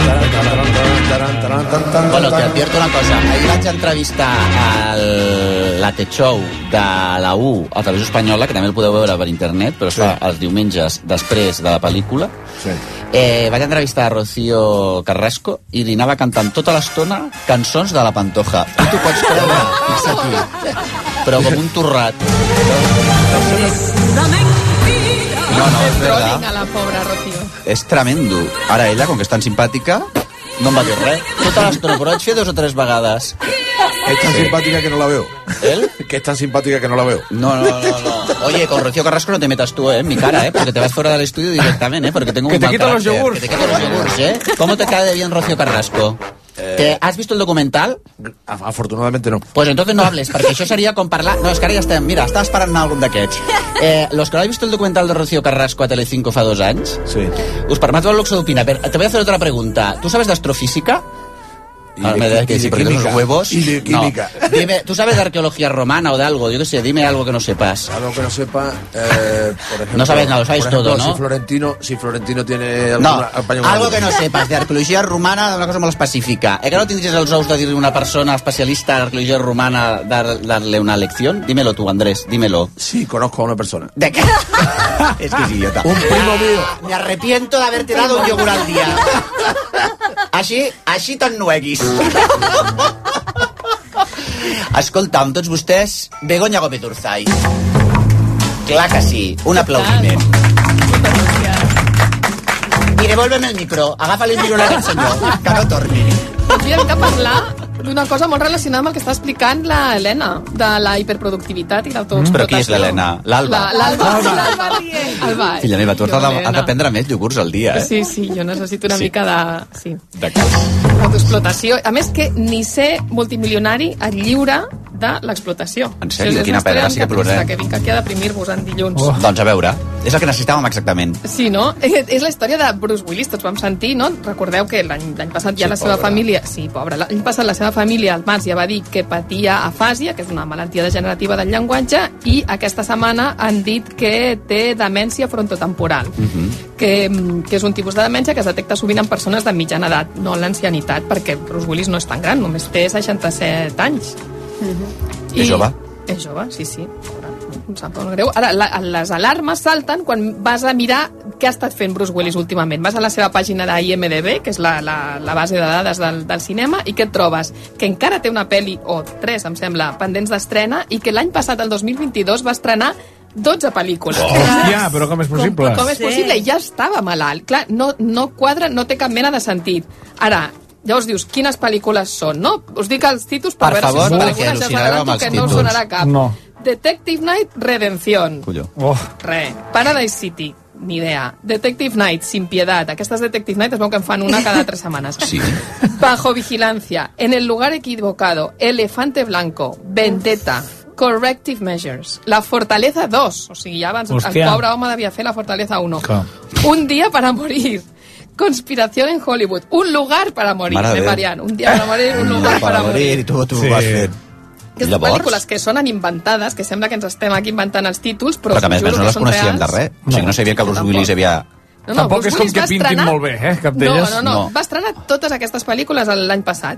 S10: Bueno, te advierto una cosa. Ahir vaig entrevistar al la Te Show de la U a Televisió Espanyola, que també el podeu veure per internet, però es fa els diumenges després de la pel·lícula.
S24: Sí.
S10: Eh, vaig entrevistar a Rocío Carrasco i li anava cantant tota l'estona cançons de la Pantoja. I tu pots creure, fixa aquí, però com un torrat. No, no, és
S12: Trolling
S10: verdad.
S12: a la pobra Rocío.
S10: És tremendo. Ara ella, com que és tan simpàtica, no em va dir res. Tota l'estona, però vaig fer dos o tres vegades.
S24: Es tan simpática que no la veo.
S10: ¿Él?
S24: Que es tan simpática que no la veo.
S10: No, no, no, no. Oye, con Rocío Carrasco no te metas tú, ¿eh? En mi cara, ¿eh? Porque te vas fuera del estudio directamente, ¿eh? Porque tengo
S11: Que
S10: un
S11: te
S10: mal
S11: quito los
S10: carácter.
S11: yogurts.
S10: Que te quito los yogurts, ¿eh? ¿Cómo te cae de bien Rocío Carrasco? ¿Te- ¿Has visto el documental?
S24: Eh, Afortunadamente no.
S10: Pues entonces no hables, perquè això seria com parlar... No, és que ara ja estem... Mira, estàs parant en algun d'aquests. Eh, los que no heu vist el documental de Rocío Carrasco a Telecinco fa dos anys,
S24: sí.
S10: us permet el luxe d'opinar. Però Te voy a hacer otra pregunta. ¿Tú sabes de astrofísica?
S24: Y
S10: Ahora
S24: de-
S10: me dirás que
S24: y
S10: sí,
S24: de
S10: porque esos
S24: química.
S10: huevos...
S24: Y de
S10: No.
S24: química.
S10: Dime, ¿Tú sabes de arqueología romana o de algo? Yo qué sé, dime algo que no sepas.
S24: Algo que no sepa, eh, por ejemplo...
S10: No sabes nada, lo sabes
S24: por ejemplo,
S10: todo, ¿no?
S24: Si Florentino, si Florentino tiene
S10: No,
S24: alguna, algún
S10: algo que no sepas de arqueologia romana, una cosa molt específica. Eh que no tindries els ous de dir-li a una persona especialista en arqueologia romana dar- dar-le una lecció? Dímelo tu, Andrés, dímelo.
S24: Sí, conozco a una persona.
S10: ¿De qué? [laughs] es que es idiota.
S24: Un primo mío.
S10: Me arrepiento de haberte dado un yogur al día. Així, així te'n nueguis. Escolta, amb tots vostès, Begoña Gómez Urzay. Clar que sí, un aplaudiment. I devolve'm el micro, agafa el micro a aquest senyor, que no torni.
S12: Doncs mira, vinc a parlar d'una cosa molt relacionada amb el que està explicant la Helena, de la hiperproductivitat i l'autoexplotació.
S10: Mm, Però qui és l'Helena? L'Alba.
S12: La- L'Alba.
S10: L'Alba.
S12: L'Alba. Alba. eh?
S10: Filla meva, tu has
S12: Jo,
S10: de,
S12: Helena.
S10: has de prendre més iogurts al dia, eh?
S12: Sí, sí, jo necessito una
S10: Sí.
S12: mica de... Sí.
S10: De cas.
S12: Autoexplotació. A més que ni ser multimilionari et lliura de l'explotació.
S10: En sèrio?
S12: Això és
S10: Quina
S12: una història
S10: pedra, sí que
S12: molt trista,
S10: plorarem.
S12: Que vinc aquí a deprimir-vos en dilluns.
S10: Oh. Doncs a veure, és el que necessitàvem exactament.
S12: Sí, no? [laughs] Eh, És la història de Bruce Willis, tots vam sentir, no? Recordeu que l'any l'any passat ja
S10: Sí,
S12: la seva
S10: pobra.
S12: família... Sí, pobra. L'any passat la seva família, al març, ja va dir que patia afàsia, que és una malaltia degenerativa del llenguatge, i aquesta setmana han dit que té demència frontotemporal, que, mm, que és un tipus de demència que es detecta sovint en persones de mitjana edat, no en l'ancianitat, perquè Bruce Willis no és tan gran, només té 67 anys.
S10: És jove.
S12: És jove, sí, sí. Pobra, Em sap molt greu. Ara, la, les alarmes salten quan vas a mirar què ha estat fent Bruce Willis últimament. Vas a la seva pàgina d'IMDB, que és la, la, la base de dades del, del cinema, i què et trobes? Que encara té una pel·li, o tres, em sembla, pendents d'estrena, i que l'any passat, el 2022, va estrenar 12 pel·lícules.
S11: Hòstia, Oh. però com és possible?
S12: Com és possible? Ja estava malalt. Clar, no, no quadra, no té cap mena de sentit. Ara, ja us dius quines pel·lícules són, no? Us dic els títols
S10: Per
S12: per, veure
S10: favor,
S12: si us
S10: perquè
S12: alguna, ja us
S10: al·lucinareu
S12: adelanto
S10: amb els
S12: que no us
S10: títols.
S12: sonarà cap.
S10: No.
S12: Detective Night, Redención.
S10: Colló.
S11: Oh.
S12: Re. Paradise City, ni idea. Detective Night, Sin Piedad. Aquestes Detective Night es veu que en fan una cada tres setmanes.
S10: [laughs] Sí.
S12: Bajo Vigilancia, En el Lugar Equivocado, Elefante Blanco, Vendetta, Corrective Measures, La Fortaleza 2, o sigui, ja abans
S11: Hòstia.
S12: el pobre home devia fer La Fortaleza 1,
S11: Clar.
S12: Un Día para Morir, Conspiración en Hollywood, Un Lugar para Morir,
S10: Mare de
S12: de
S10: Déu.
S12: Marian, Un Día para Morir, Un Lugar para Morir.
S10: i tu, tu
S11: Sí.
S10: sí. vas fent.
S12: Aquestes pel·lícules que sonen inventades, que sembla que ens estem aquí inventant els títols, però,
S10: Però que a més,
S12: us
S10: a més
S12: juro
S10: no
S12: que
S10: les
S12: són
S10: coneixíem
S12: reals.
S10: de res. O sigui, no sabia que Bruce Willis havia...
S12: No, no,
S11: Tampoc
S12: Bruce
S11: és com
S12: Willis
S11: que
S12: va
S11: pintin
S12: estrenar-
S11: molt bé, eh, cap d'elles.
S12: No, no, no,
S11: No.
S12: no. Va estrenar totes aquestes pel·lícules el- l'any passat.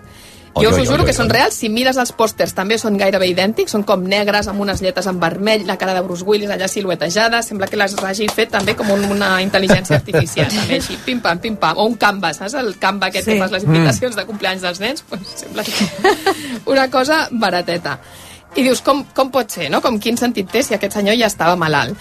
S11: Oi,
S12: Jo us
S11: oi,
S12: ho
S11: oi,
S12: juro
S11: oi,
S12: que
S11: oi.
S12: són reals. Si mires els pòsters també són gairebé idèntics, són com negres, amb unes lletres en vermell, la cara de Bruce Willis allà siluetejada, sembla que les hagi fet també com un, una intel·ligència artificial, també així, pim-pam, pim-pam, o un canva, saps? El canva aquest sí. que fas les invitacions de cumpleanys dels nens, doncs
S11: [laughs]
S12: sembla que una cosa barateta. I dius, com, com pot ser, no? Com quin sentit té si aquest senyor ja estava malalt?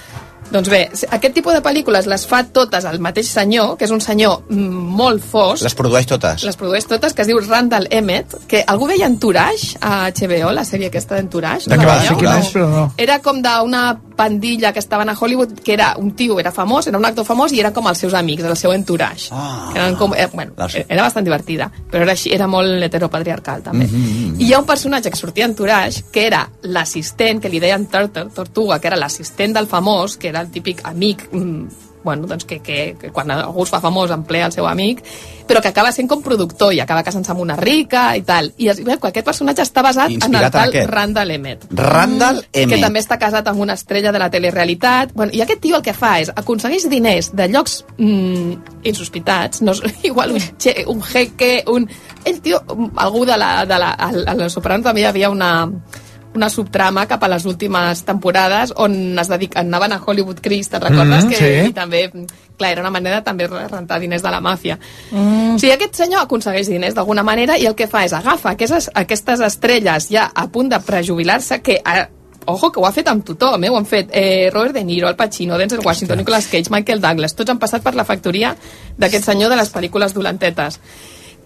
S12: Doncs bé, aquest tipus de pel·lícules les fa totes el mateix senyor, que és un senyor mm, molt fosc,
S10: Les produeix totes.
S12: les produeix totes, que es diu Randall Emmett, que algú veia Entourage a HBO, la sèrie aquesta d'Entourage?
S10: De què
S12: La
S10: va,
S12: veieu?
S10: Entourage?
S11: Però no.
S12: Era com d'una pandilla que estaven a Hollywood, que era un tio, era famós, era un actor famós i era com els seus amics, el seu entourage. Ah. Que eren com, eh, bueno, era bastant divertida, però era, així, era molt heteropatriarcal, també.
S10: Mhm.
S12: I hi ha un personatge que sortia en Tourage, que era l'assistent, que li deien Turtle, Tortuga, que era l'assistent del famós, que era el típic amic mm, bueno, doncs que, que, que quan algú es fa famós emplea el seu amic, però que acaba sent com productor i acaba casant-se amb una rica i tal. I es veu que aquest personatge està basat en
S10: Inspirat
S12: el
S10: en
S12: tal
S10: aquest.
S12: Randall Emmett.
S10: Randall
S12: Que
S10: Emmett.
S12: també està casat amb una estrella de la telerealitat. Bueno, I aquest tio el que fa és aconsegueix diners de llocs mm, insospitats, no, és- [laughs] igual un, che, un jeque, un... El tio, mm, algú de la... De la a, a la Soprano també hi havia una una subtrama cap a les últimes temporades on es dediquen, anaven a Hollywood Crist, te'n recordes?
S1: Mhm,
S12: que
S1: sí.
S12: i també, clar, era una manera de també de rentar diners de la màfia. Mm. O sigui, aquest senyor aconsegueix diners d'alguna manera i el que fa és agafa aquestes, aquestes estrelles ja a punt de prejubilar-se que... A, Ojo, que ho ha fet amb tothom, eh? Ho han fet eh, Robert De Niro, Al Pacino, Denzel Washington, Nicolas Cage, Michael Douglas. Tots han passat per la factoria d'aquest senyor de les pel·lícules dolentetes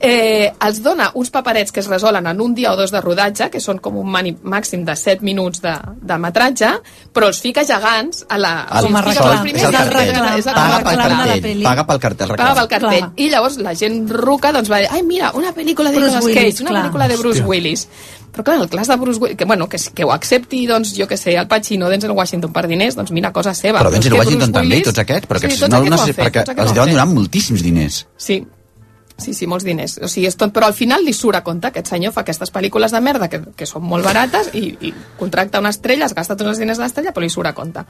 S12: eh, els dona uns paperets que es resolen en un dia o dos de rodatge, que són com un mani, màxim de 7 minuts de, de metratge, però els fica gegants a la...
S10: El
S12: els fica
S10: sol
S12: pels primers
S10: és el
S12: gegants,
S10: cartell.
S12: gegants, és el
S10: Paga
S12: reclam
S10: pel
S12: de la
S10: cartell.
S12: peli.
S10: Paga pel cartell.
S12: Pagava el
S10: reclam.
S12: cartell. I llavors la gent ruca doncs, va dir, ai, mira, una pel·lícula de
S5: Bruce
S12: Nicolas
S5: Willis,
S12: Cage, una
S5: clar.
S12: pel·lícula de Bruce
S5: Hòstia.
S12: Willis. Però clar, el clas de Bruce Willis, que, bueno, que, que ho accepti, doncs, jo que sé, el Pacino, Denzel Washington per diners, doncs mira, cosa seva.
S10: Però
S12: és
S10: Denzel
S12: que
S10: Washington
S12: Bruce
S10: també,
S12: Willis-
S10: tots aquests, però
S12: Sí,
S10: aquests
S12: tots
S10: no,
S12: aquests
S10: no
S12: ho
S10: sé,
S12: han fet,
S10: perquè
S12: tots aquests
S10: els
S12: ho han
S10: deuen
S12: fet.
S10: donar moltíssims diners.
S12: Sí, sí, sí, molts diners. O sigui, és tot, però al final li surt a compte. Aquest senyor fa aquestes pel·lícules de merda que, que són molt barates i, i contracta una estrella, es gasta tots els diners de l'estrella, però li surt a compte.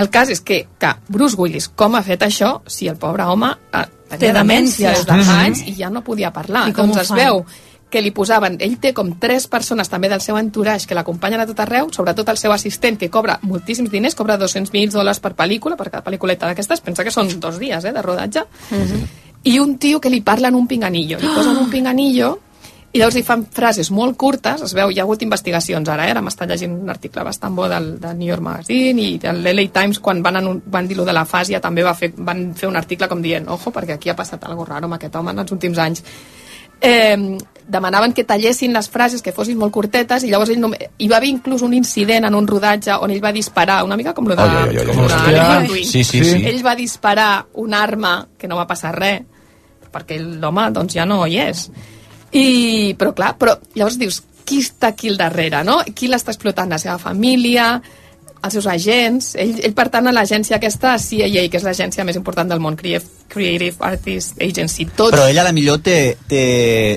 S12: El cas és que, que Bruce Willis, com ha fet això, si el pobre home eh,
S5: Té
S12: tenia demència
S5: demència.
S12: des de fa
S5: Mhm.
S12: anys i ja no podia parlar.
S5: I com
S12: doncs
S5: ho
S12: es
S5: fan?
S12: veu que li posaven, ell té com tres persones també del seu entourage que l'acompanyen a tot arreu, sobretot el seu assistent, que cobra moltíssims diners, cobra 200.000 dòlars per pel·lícula, per cada pel·lículeta d'aquestes, pensa que són dos dies eh, de rodatge, i un tio que li parla en un pinganillo. Li posen un pinganillo i llavors li fan frases molt curtes, es veu, hi ha hagut investigacions ara, eh? ara m'està llegint un article bastant bo del, del New York Magazine i de l'LA Times, quan van, anun- van dir lo de la fàsia, també va fer, van fer un article com dient, ojo, perquè aquí ha passat algo raro amb aquest home en els últims anys. Eh, demanaven que tallessin les frases, que fossin molt curtetes, i llavors ell no... hi va haver inclús un incident en un rodatge on ell va disparar, una mica com lo de...
S10: Ai, ai, ai, ai,
S12: com lo de
S10: hòstia.
S12: Alec Baldwin.
S10: Sí, sí, sí.
S12: Ell va disparar un arma que no va passar res, perquè l'home doncs, ja no hi és. I, però clar, però llavors dius, qui està aquí al darrere, no? Qui l'està explotant? La seva família, els seus agents... Ell, ell pertany a l'agència aquesta, CIA, que és l'agència més important del món, Creative, Creative Artist Agency. Tots...
S10: Però ella a la millor té, té,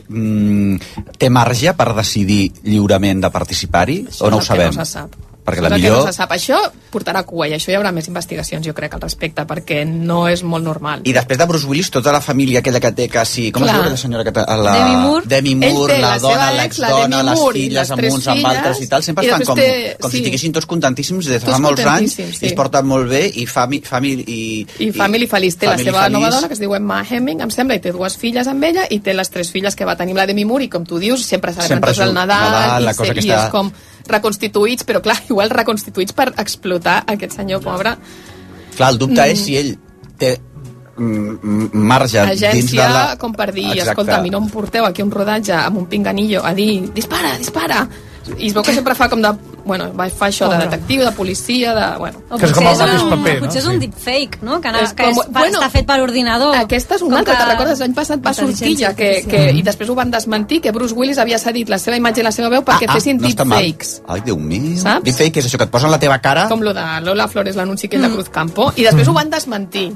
S10: mm, té marge per decidir lliurement de participar-hi, o no ho
S12: Això és el
S10: sabem?
S12: que No se sap.
S10: Perquè
S12: Això
S10: la
S12: és el que
S10: millor...
S12: No se sap. Això portarà cua i això hi haurà més investigacions, jo crec, al respecte, perquè no és molt normal.
S10: I després de Bruce Willis, tota la família aquella que té quasi... Com
S12: Clar.
S10: es diu la senyora que té... La...
S12: Demi Moore.
S10: Demi Moore,
S12: Ell té
S10: la
S12: la
S10: dona,
S12: seva ex, la
S10: l'exdona,
S12: Demi
S10: les
S12: Moore i
S10: filles,
S12: les
S10: amb
S12: tres
S10: uns, amb
S12: filles,
S10: altres i tal, sempre
S12: i
S10: estan com,
S12: després té-
S10: com
S12: sí.
S10: si estiguessin tots contentíssims des de
S12: Tots
S10: fa molts anys
S12: contentíssims, sí.
S10: i es porten molt bé i Family, family, i,
S12: I, Family Feliç té
S10: Family
S12: la seva
S10: Feliç.
S12: nova dona, que es diu Emma Hemming, em sembla, i té dues filles amb ella, i té les tres filles que va tenir amb la Demi Moore, i com tu dius, sempre celebren
S10: Sempre
S12: tots el
S10: és un-
S12: Nadal,
S10: Nadal,
S12: i,
S10: la cosa
S12: se-
S10: que
S12: i
S10: està-
S12: és com reconstituïts, però clar, [laughs] igual reconstituïts per explotar aquest senyor pobre.
S10: Clar, el dubte
S12: Mm.
S10: és si ell té mm, mm, marge dins de
S12: Agència,
S10: la...
S12: com per dir,
S10: Exacte.
S12: escolta, a mi no em porteu aquí a un rodatge amb un pinganillo a dir, dispara, dispara! I es veu que sempre fa com de... Bueno, va- fa això de
S15: Pobre.
S12: detectiu, de policia, de... Bueno.
S15: O potser és un- Potser és un deepfake, no? Que, na,
S12: És
S15: que
S12: com-
S15: és, per,
S12: bueno,
S15: està [laughs] fet per ordinador.
S12: Aquesta és una altra, te'n recordes? L'any passat va sortir ja que, que, i després ho van desmentir, que Bruce Willis havia cedit la seva imatge i la seva veu perquè ah, fessin
S10: no està mal.
S12: deepfakes.
S10: Ai, Déu meu.
S12: Saps?
S10: Deepfake és això, que et posen la teva cara...
S12: Com lo de Lola Flores, l'anunci que és
S15: Mm.
S12: de Cruz Campo, i després ho van desmentir.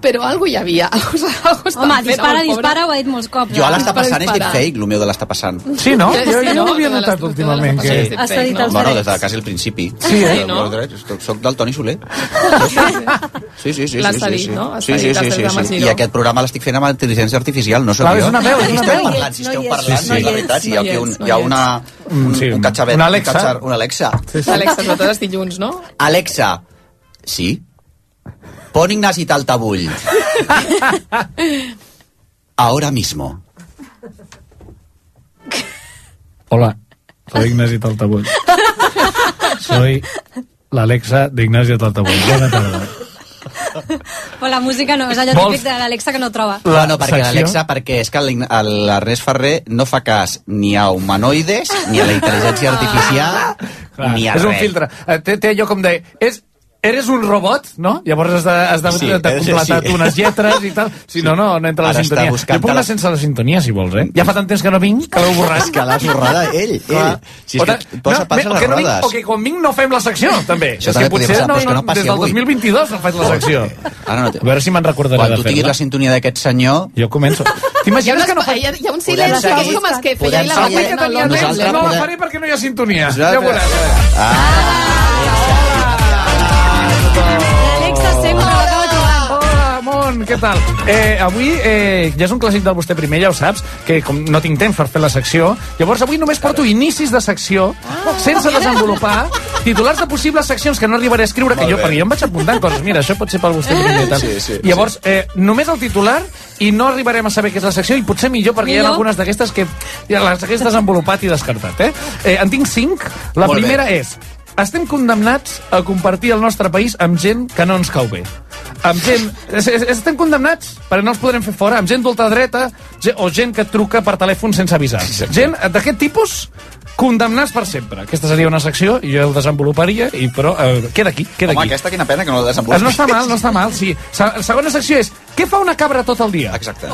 S12: Però algo hi havia. [laughs] Algo, algo estan
S15: Home,
S12: fent,
S15: dispara,
S12: home,
S15: dispara, ho ha dit molts cops. eh?
S10: Jo a l'està
S15: Dispara,
S10: passant és
S15: dispara.
S10: deepfake, el meu de l'està passant.
S11: Sí, no?
S15: Sí,
S11: Jo, jo no
S15: no?
S11: l'havia notat últimament. Que...
S10: Sí.
S15: Has cedit els
S10: bueno,
S15: drets.
S10: des de quasi el principi.
S15: Sí, eh?
S10: Sí, no? Soc del Toni Soler. Sí, sí, sí. sí,
S15: L'has
S10: sí,
S15: cedit,
S10: sí.
S15: no? Has
S10: Sí, sí,
S15: cedit
S10: sí,
S15: els
S10: sí,
S15: drets a
S10: sí.
S15: Masiró.
S10: I aquest programa l'estic fent amb intel·ligència artificial, no sóc
S11: Clar,
S10: jo.
S11: és una veu, és
S10: Si
S11: una
S10: esteu
S11: veu. [laughs]
S10: parlant, Ah, si
S11: No
S10: esteu
S11: hi és,
S10: parlant,
S11: no hi
S10: sí, la
S11: és,
S10: veritat, si hi
S11: no
S10: ha,
S11: hi
S10: aquí un,
S11: és, no
S10: hi ha
S11: hi és.
S10: una, un,
S11: Mm, sí,
S10: un catxavet.
S11: una Alexa.
S10: Un catxar, una Alexa.
S12: Alexa, sobretot els dilluns, no?
S10: [laughs] Alexa, sí? Pon Ignasi Taltabull. Ahora mismo.
S11: Hola, soy Ignasi Taltabull. Soy la Alexa de Ignasi Taltabull. Bona tarda.
S15: Però la música no, és allò
S11: Vols-
S15: típic de l'Alexa que no troba.
S10: La no, perquè
S11: secció.
S10: l'Alexa, perquè és que l'Ign- el- l'Ernest Ferrer no fa cas ni a humanoides ni a la intel·ligència artificial
S11: Ah, Clar,
S10: ni a
S11: és un
S10: res.
S11: filtre. Eh, Té, té allò com de... És, eres un robot, no? Llavors has de, has de,
S10: Sí,
S11: sí,
S10: ha
S11: de
S10: de ser
S11: completar
S10: així.
S11: sí. unes lletres
S10: [laughs]
S11: i tal. Si sí. no, no, no entra
S10: Ara
S11: la
S10: està
S11: sintonia. Jo
S10: buscant-te
S11: puc anar
S10: la-
S11: sense la sintonia, si vols, eh? Ja fa tant temps que no vinc que l'heu borrat.
S10: Que l'has borrada ell, ell.
S11: [laughs] Clar.
S10: Si és
S11: O
S10: que
S11: ta-
S10: posa
S11: no,
S10: pas
S11: bé,
S10: a
S11: o
S10: les
S11: que no
S10: rodes.
S11: Vinc, o que quan vinc no fem la
S10: [laughs]
S11: secció, també.
S10: Això també podria passar, però és que no passi
S11: des del
S10: avui.
S11: 2022 no
S10: [laughs]
S11: faig la secció.
S10: Ara no té...
S11: A veure si me'n recordaré
S10: Quan
S11: de
S10: tu tinguis
S11: fer-la.
S10: la sintonia d'aquest senyor...
S11: Jo començo.
S12: Hi ha,
S11: T'imagines
S12: unes,
S11: que no
S12: pa- hi ha, hi ha un silenci
S10: Podem
S12: que és
S10: seguir-
S12: com els que feia
S10: podem
S12: la
S10: seguir-
S11: Avui que
S12: Barcelona.
S11: tenia
S10: no,
S11: temps,
S10: nosaltres
S11: no la
S10: podem-
S11: faré perquè no hi ha sintonia. Ja ho
S10: Nosaltres-
S11: veuràs.
S15: L'Alexa sempre l'acaba trobant.
S11: Hola, Mont, què tal? Eh, avui eh, ja és un clàssic del vostè primer, ja ho saps, que com no tinc temps per fer la secció, llavors avui només porto inicis de secció, sense desenvolupar, titulars de possibles seccions que no arribaré a escriure, que
S10: Molt
S11: jo,
S10: bé.
S11: perquè jo em vaig apuntant coses, mira, això pot ser pel vostè primer. Tal.
S10: Sí, sí,
S11: llavors, eh, només el titular i no arribarem a saber què és la secció i potser millor perquè hi ha
S10: Millor.
S11: algunes d'aquestes que ja les hagués desenvolupat i descartat, eh? eh en tinc cinc. La
S10: Molt bé.
S11: primera és estem condemnats a compartir el nostre país amb gent que no ens cau bé. Amb gent... es- es- Estem condemnats, perquè no els podrem fer fora, amb gent d'ultradreta ge- o gent que et truca per telèfon sense avisar. Gent d'aquest tipus condemnats per sempre. Aquesta seria una secció, i jo el desenvoluparia, i però eh, queda aquí, queda
S10: Home,
S11: aquí.
S10: aquesta quina pena que no la
S11: Pues
S10: desenvolupis.
S11: Ah, no està mal, no està mal, sí. Se- La segona secció és què fa una cabra tot el dia?
S10: Exacte.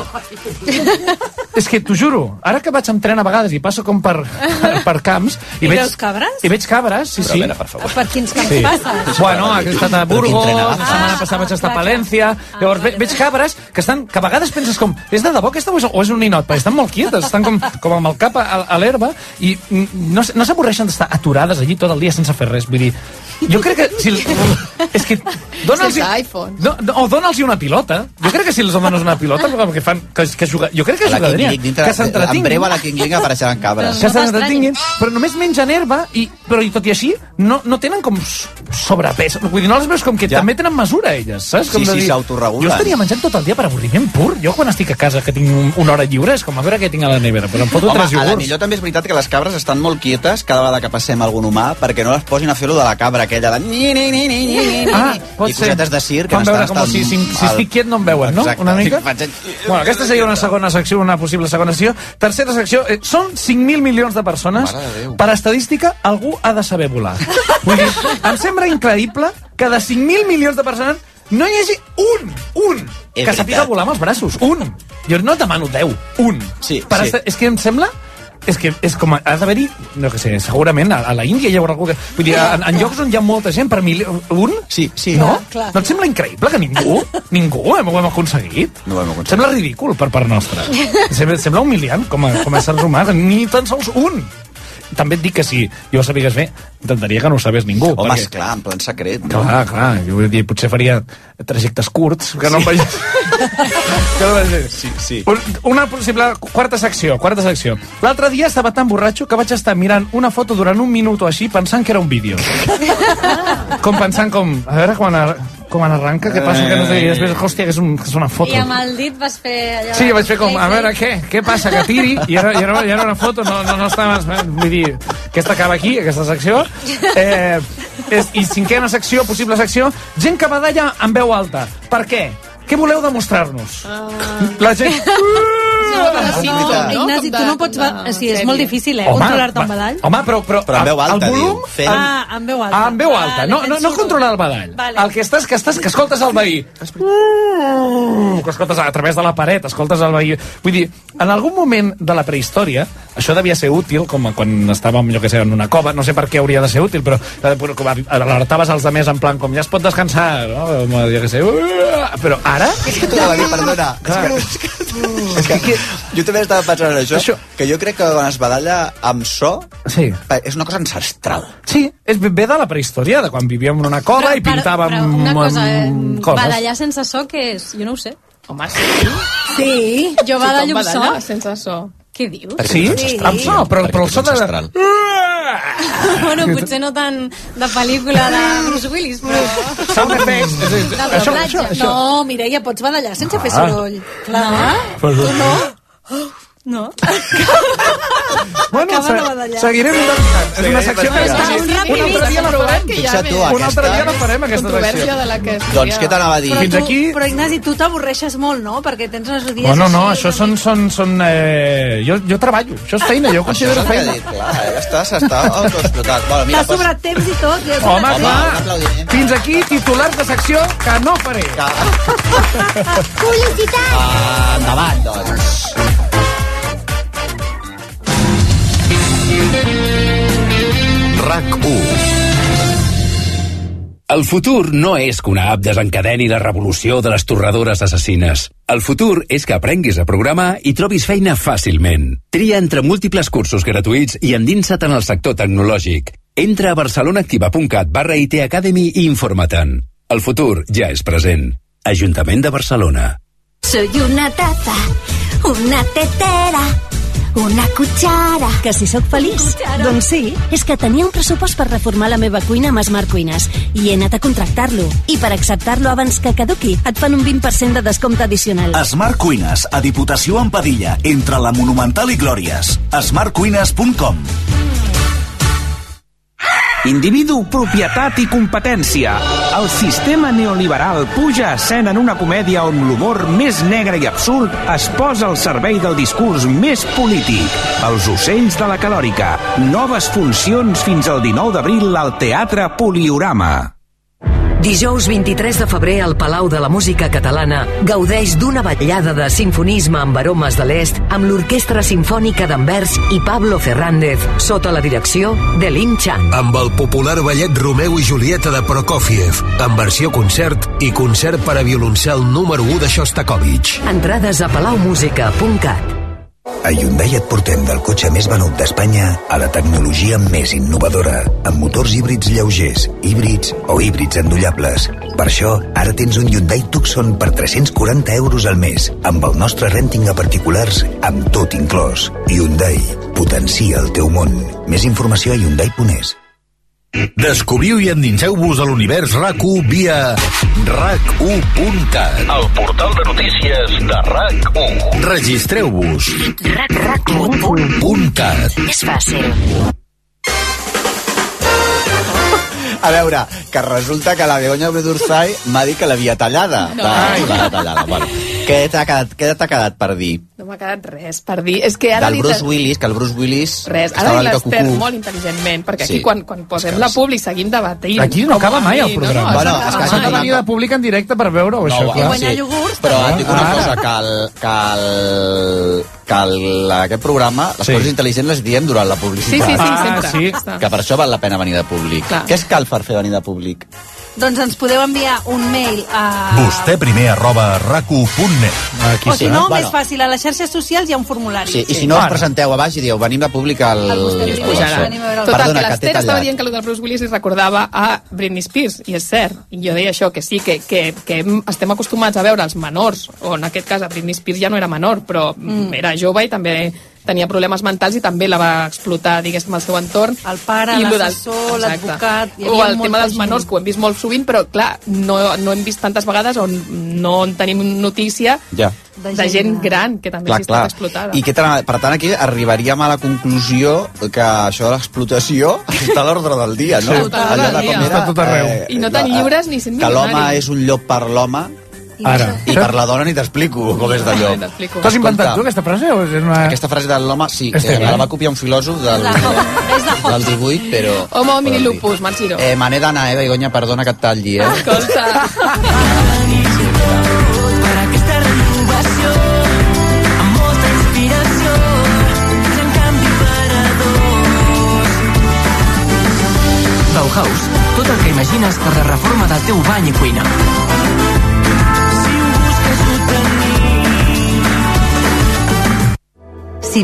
S11: És que t'ho juro, ara que vaig amb tren a vegades i passo com per, per camps... I,
S18: I
S11: veig,
S18: veus cabres?
S11: I veig cabres, sí,
S10: Però,
S11: sí.
S10: a veure, per favor.
S18: Per quins camps
S11: Sí.
S18: passes?
S11: Bueno, he estat a
S10: Però quin
S11: Burgos,
S10: tren
S11: la
S10: agafes?
S11: setmana passada vaig estar a Palència, llavors ve, veig cabres que estan, que a vegades penses com, és de debò aquesta o és, o és un ninot? Perquè estan molt quietes, estan com, com amb el cap a, a l'herba i mm, no, s- no s'avorreixen d'estar aturades allí tot el dia sense fer res, vull dir, jo crec que... Si, és que... Dona'ls...
S12: Sense iPhone.
S11: No, no, o dona'ls una pilota. Jo crec que si els dones una pilota, com que fan... Que, que juga, jo crec que
S10: A la King
S11: jugarien.
S10: Ling, dintre,
S11: Que
S10: en
S11: s'entretinguin
S10: breu a la King Ling apareixeran cabres.
S11: que s'entretinguin, però només mengen herba i, però i tot i així no, no tenen com s- sobrepès. Vull dir, no les veus com que ja. també tenen mesura elles, saps? Com
S10: Sí,
S11: de
S10: sí,
S11: dir,
S10: s'autoregulen.
S11: Jo estaria menjant tot el dia per avorriment pur. Jo quan estic a casa que tinc un- una hora iogurts, lliure és com a veure què tinc a la nevera, però em foto
S10: Home,
S11: tres
S10: a la
S11: iogurts.
S10: millor també és veritat que les cabres estan molt quietes cada vegada que passem algun humà perquè no les posin a fer-lo de la cabra aquella de... Ni, ni, ni, ni, ni, ni, ni.
S11: Ah, pot
S10: I cosetes
S11: ser.
S10: de circ.
S11: Fan veure com si, si, si estic quiet no em veuen, no?
S10: Exacte.
S11: Una mica?
S10: Faig el-
S11: Bueno, aquesta seria una segona secció, una possible segona secció. Tercera secció, eh, són 5.000 milions de persones.
S10: Mare de Déu.
S11: Per estadística, algú ha de saber volar. Vull dir, em sembla increïble que de 5.000 milions de persones no hi hagi un, un,
S10: És
S11: que sàpiga
S10: veritat.
S11: volar amb els braços. Un. Jo no et demano 10. Un.
S10: Sí,
S11: per
S10: sí.
S11: esta- És que em sembla és que és com, ha d'haver-hi, no que sé, segurament a, a la Índia hi haurà algú que... Vull dir, en, en llocs on hi ha molta gent, per mil... un?
S10: Sí, sí.
S11: No?
S18: Clar, clar.
S11: no et sembla increïble que ningú, ningú ho hem, ho hem aconseguit?
S10: No ho hem aconseguit.
S11: Sembla ridícul per part nostra. Sembla, sembla humiliant com a, com a éssers humans, ni tan sols un. També et dic que si jo ho sabigués bé, intentaria que no ho sabés ningú.
S10: Home, esclar, en plan secret. no?
S11: Clar, clar, jo vull dir, potser faria trajectes curts, que no em vagi... que no em vagi...
S10: Sí, sí.
S11: Un- Una possible quarta secció, quarta secció. L'altre dia estava tan borratxo que vaig estar mirant una foto durant un minut o així pensant que era un vídeo. com pensant com, a veure quan, ar com en arranca, què passa, que no
S10: Eh.
S11: sé, i després, hòstia, que és, un, que és una foto.
S15: I amb el dit vas fer allò...
S11: Sí, vaig fer com, a veure què, què passa, que tiri, i era, i era, i era una foto, no, no, no estava... Vull dir, aquesta acaba aquí, aquesta secció. Eh, és, I cinquena secció, possible secció, gent que badalla en veu alta. Per què? Què voleu demostrar-nos? La gent...
S18: No,
S10: veritat.
S18: Ignasi, tu no pots... ba- Sí, és molt difícil, eh?
S11: Home,
S18: Controlar-te
S11: va-
S18: un badall.
S11: Home, però, però,
S10: Però en veu alta,
S11: el volum,
S10: diu. Fent-
S18: Ah, en veu alta.
S11: Ah, en veu alta.
S18: Vale,
S11: No, no, no
S18: penso-
S11: controlar el badall.
S18: Vale.
S11: El que estàs, que estàs, que escoltes el veí. Mm, Que escoltes a través de la paret, escoltes el veí. Vull dir, en algun moment de la prehistòria, això devia ser útil, com quan estàvem, jo que sé, en una cova, no sé per què hauria de ser útil, però, eh, però com alertaves els demés en plan, com ja es pot descansar, no? Com, Jo que sé, "Uah", però ara...
S10: És que tu, David, perdona.
S11: Clar.
S10: [laughs] És que, és que, jo també estava pensant en això,
S11: Això-
S10: que jo crec que quan es badalla amb so
S11: Sí.
S10: pa- és una cosa ancestral.
S11: Sí, és ve de la prehistòria, de quan vivíem en una cova i
S15: per-
S11: pintàvem
S15: però una cosa, eh,
S11: mm, coses.
S15: Badallar sense so, què és? Jo no ho sé.
S12: Home, sí.
S15: Sí, jo
S12: Tothom
S15: badallo amb so.
S12: badalla sense so.
S15: Què dius?
S10: Ah,
S11: Sí? Amb
S14: Ah,
S11: so, però, però el so de...
S15: [laughs] Bueno, potser no tant de pel·lícula de Bruce Willis, però...
S11: Sound effects. és a dir,
S18: No, però
S11: Això,
S18: platja.
S11: això, això.
S25: Ah.
S18: No, Mireia, pots badallar sense fer
S11: Ah.
S18: soroll. Clar.
S11: Pues-
S18: Tu no? No.
S25: Bueno,
S18: Acaba de
S25: se,
S18: badallar.
S25: seguirem intentant. És una secció que...
S12: Està un
S25: Un altre dia la farem.
S10: Fixa't tu,
S25: Un altre dia la
S10: aquesta...
S25: farem, aquesta
S12: Controvèrsia
S25: secció.
S12: de la que es
S10: Doncs
S12: tria.
S10: què t'anava a dir?
S18: Però,
S11: Fins
S18: tu,
S11: aquí-
S18: però Ignasi, tu t'avorreixes molt, no? Perquè tens els dies
S11: Bueno,
S18: així,
S11: no, això són... són, són eh, jo, jo treballo, això és feina, jo ho
S10: Això és
S11: considero
S10: el que ha
S11: feina.
S10: dit, clar, eh? Està, s'està autoexplotat. Bueno, mira,
S18: T'ha sobrat temps i tot. I
S11: Home,
S10: un
S11: clar,
S10: aplaudiment.
S11: fins aquí titulars de secció que no faré.
S10: Publicitat! Ah, endavant, doncs.
S19: RAC1 El futur no és que una app desencadeni la revolució de les torradores assassines. El futur és que aprenguis a programar i trobis feina fàcilment. Tria entre múltiples cursos gratuïts i endinsa't en el sector tecnològic. Entra a barcelonaactiva.cat barra IT Academy i informa-te'n. El futur ja és present. Ajuntament de Barcelona.
S21: Soy una taza, una tetera, una cuchara. Que si sóc feliç? Doncs sí, és que tenia un pressupost per reformar la meva cuina amb Smart Cuines i he anat a contractar-lo. I per acceptar-lo abans que caduqui et fan un 20% de descompte addicional.
S26: Smart Cuines, a Diputació en Padilla, entre la Monumental i Glòries. smartcuines.com
S27: Individu, propietat i competència. El sistema neoliberal puja a escena en una comèdia on l'humor més negre i absurd es posa al servei del discurs més polític. Els ocells de la calòrica. Noves funcions fins al 19 d'abril al Teatre Poliorama.
S28: Dijous 23 de febrer al Palau de la Música Catalana gaudeix d'una vetllada de sinfonisme amb aromes de l'est amb l'Orquestra Simfònica d'Anvers i Pablo Fernández sota la direcció de Lin Chan.
S29: amb el popular ballet Romeu i Julieta de Prokofiev, en versió concert i concert per a violoncel número 1 de Shostakovich.
S28: Entrades a palaumusica.cat
S30: A Hyundai et portem del cotxe més venut d'Espanya a la tecnologia més innovadora, amb motors híbrids lleugers, híbrids o híbrids endollables. Per això, ara tens un Hyundai Tucson per 340 euros al mes, amb el nostre renting a particulars, amb tot inclòs. Hyundai, potencia el teu món. Més informació a Hyundai.es.
S16: Descobriu i endinseu-vos a l'univers RAC1 via rac1.cat. El portal de notícies de RAC1. Registreu-vos. RAC1.cat.
S28: És fàcil.
S10: A veure, que resulta que la Begoña Bedurzai m'ha dit que l'havia tallada.
S12: No.
S10: Va, l'havia tallada. Bueno, què t'ha quedat, què t'ha quedat per dir?
S12: No m'ha quedat res per dir. És que ara
S10: Del
S12: dit-
S10: Bruce Willis, que el Bruce Willis...
S12: Res,
S10: estava
S12: ara
S10: una
S12: i
S10: mica
S12: l'Ester
S10: cucú.
S12: molt intel·ligentment, perquè
S10: Sí.
S12: aquí quan, quan posem la publi seguim debatint.
S11: Aquí no
S12: Com
S11: acaba
S12: a
S11: mai el
S12: mi,
S11: programa.
S12: No, no,
S11: Bueno,
S12: no,
S11: és
S12: acaba
S11: que s'ha de
S12: mai.
S11: venir de públic en directe per veure-ho, això,
S10: bueno,
S11: clar.
S10: sí.
S12: iogurts,
S10: Però et dic una
S12: Ah.
S11: Ara.
S10: cosa, que, el, que, el, que el, aquest programa, les
S11: Sí.
S10: coses intel·ligents les diem durant la
S18: Sí, sí,
S10: publicitat.
S18: sí,
S12: Ah,
S18: sempre.
S10: Que per això val la pena venir de públic.
S18: Clar.
S10: Què es cal per fer venir de públic?
S18: Doncs ens podeu enviar un mail a...
S16: Vostè primer arroba rac1.net.
S10: Aquí
S18: o
S12: eh?
S18: si no, més fàcil, a les xerxes socials hi ha un formulari.
S10: Sí, I si no us presenteu a baix i dieu venim de públic al...
S18: Al vostè primer,
S10: al
S18: pujarà.
S10: Barça.
S18: Venim a veure el-
S12: Total,
S10: Perdona,
S12: que
S10: que t'he
S12: l'Ester estava
S10: tallat.
S12: dient que el del Bruce Willis li recordava a Britney Spears, i és cert. I jo deia això, que sí, que, que, que hem- estem acostumats a veure els menors, o en aquest cas a Britney Spears ja no era menor, però
S18: Mm.
S12: mm. era jove i també tenia problemes mentals i també la va explotar, diguéssim, al seu entorn. El
S18: pare, l'assessor, l'advocat, hi
S12: O
S18: havia
S12: el
S18: molta
S12: tema dels
S18: gent.
S12: menors, que ho hem vist molt sovint, però clar, no, no hem vist tantes vegades on no en tenim notícia
S10: Ja.
S12: de gent, de gent gran que també
S10: Clar,
S12: s'hi està
S10: clar.
S12: explotada.
S10: I què t'anava- per tant, aquí arribaríem a la conclusió que això de l'explotació està a l'ordre del dia, no?
S12: Sí, està a l'ordre
S10: Allò de
S12: del dia.
S10: com era,
S12: Està a tot arreu.
S10: eh,
S12: I no tan
S10: la-
S12: lliures ni sent
S10: Que l'home
S12: milionaris.
S10: és un llop per l'home
S11: Ara.
S10: i per la dona ni t'explico com és de llop.
S12: T'explico.
S11: T'has inventat
S10: Escolta,
S11: tu aquesta frase o és una...
S10: Aquesta frase de l'home, sí,
S11: Este
S10: eh, me la
S11: bien.
S10: va copiar un filòsof del, del 18, però...
S12: Homo homini lupus, Marciro.
S10: Eh, me n'he d'anar, eh, Begoña, perdona que et talli, [laughs] eh?
S12: Escolta.
S31: Para aquesta renovació, amb molta inspiració, gran canvi per a dos.
S32: Bauhaus, tot el que imagines per la reforma del teu bany i cuina.
S31: Si ho busques, ho tenim.
S22: Si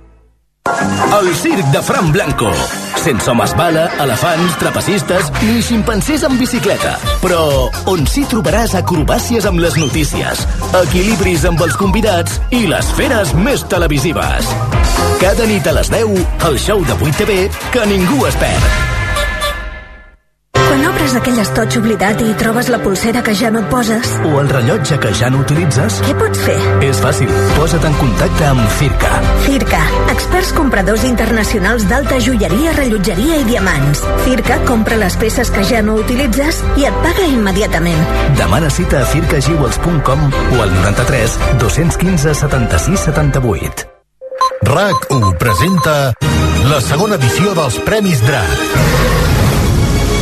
S16: El circ de Fran Blanco. Sense homes bala, elefants, trapecistes ni ximpancers amb bicicleta. Però on s'hi trobaràs acrobàcies amb les notícies, equilibris amb els convidats i les feres més televisives. Cada nit a les 10, el show de 8TV que ningú es perd.
S21: Quan obres aquell estoig oblidat i trobes la pulsera que ja no et poses,
S16: O el rellotge que ja no utilitzes?
S21: què pots fer?
S16: És fàcil. Posa't en contacte amb Circa.
S21: Circa, experts compradors internacionals d'alta joieria, rellotgeria i diamants. Circa compra les peces que ja no utilitzes i et paga immediatament.
S16: Demana cita a circajewels.com o al 93 215 76 78.
S30: RAC1 presenta la segona edició dels Premis DRAC.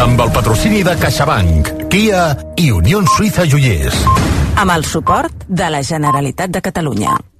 S30: Amb el patrocini de CaixaBank, Kia i Unió Suïssa Joiers.
S17: amb el suport de la Generalitat de Catalunya.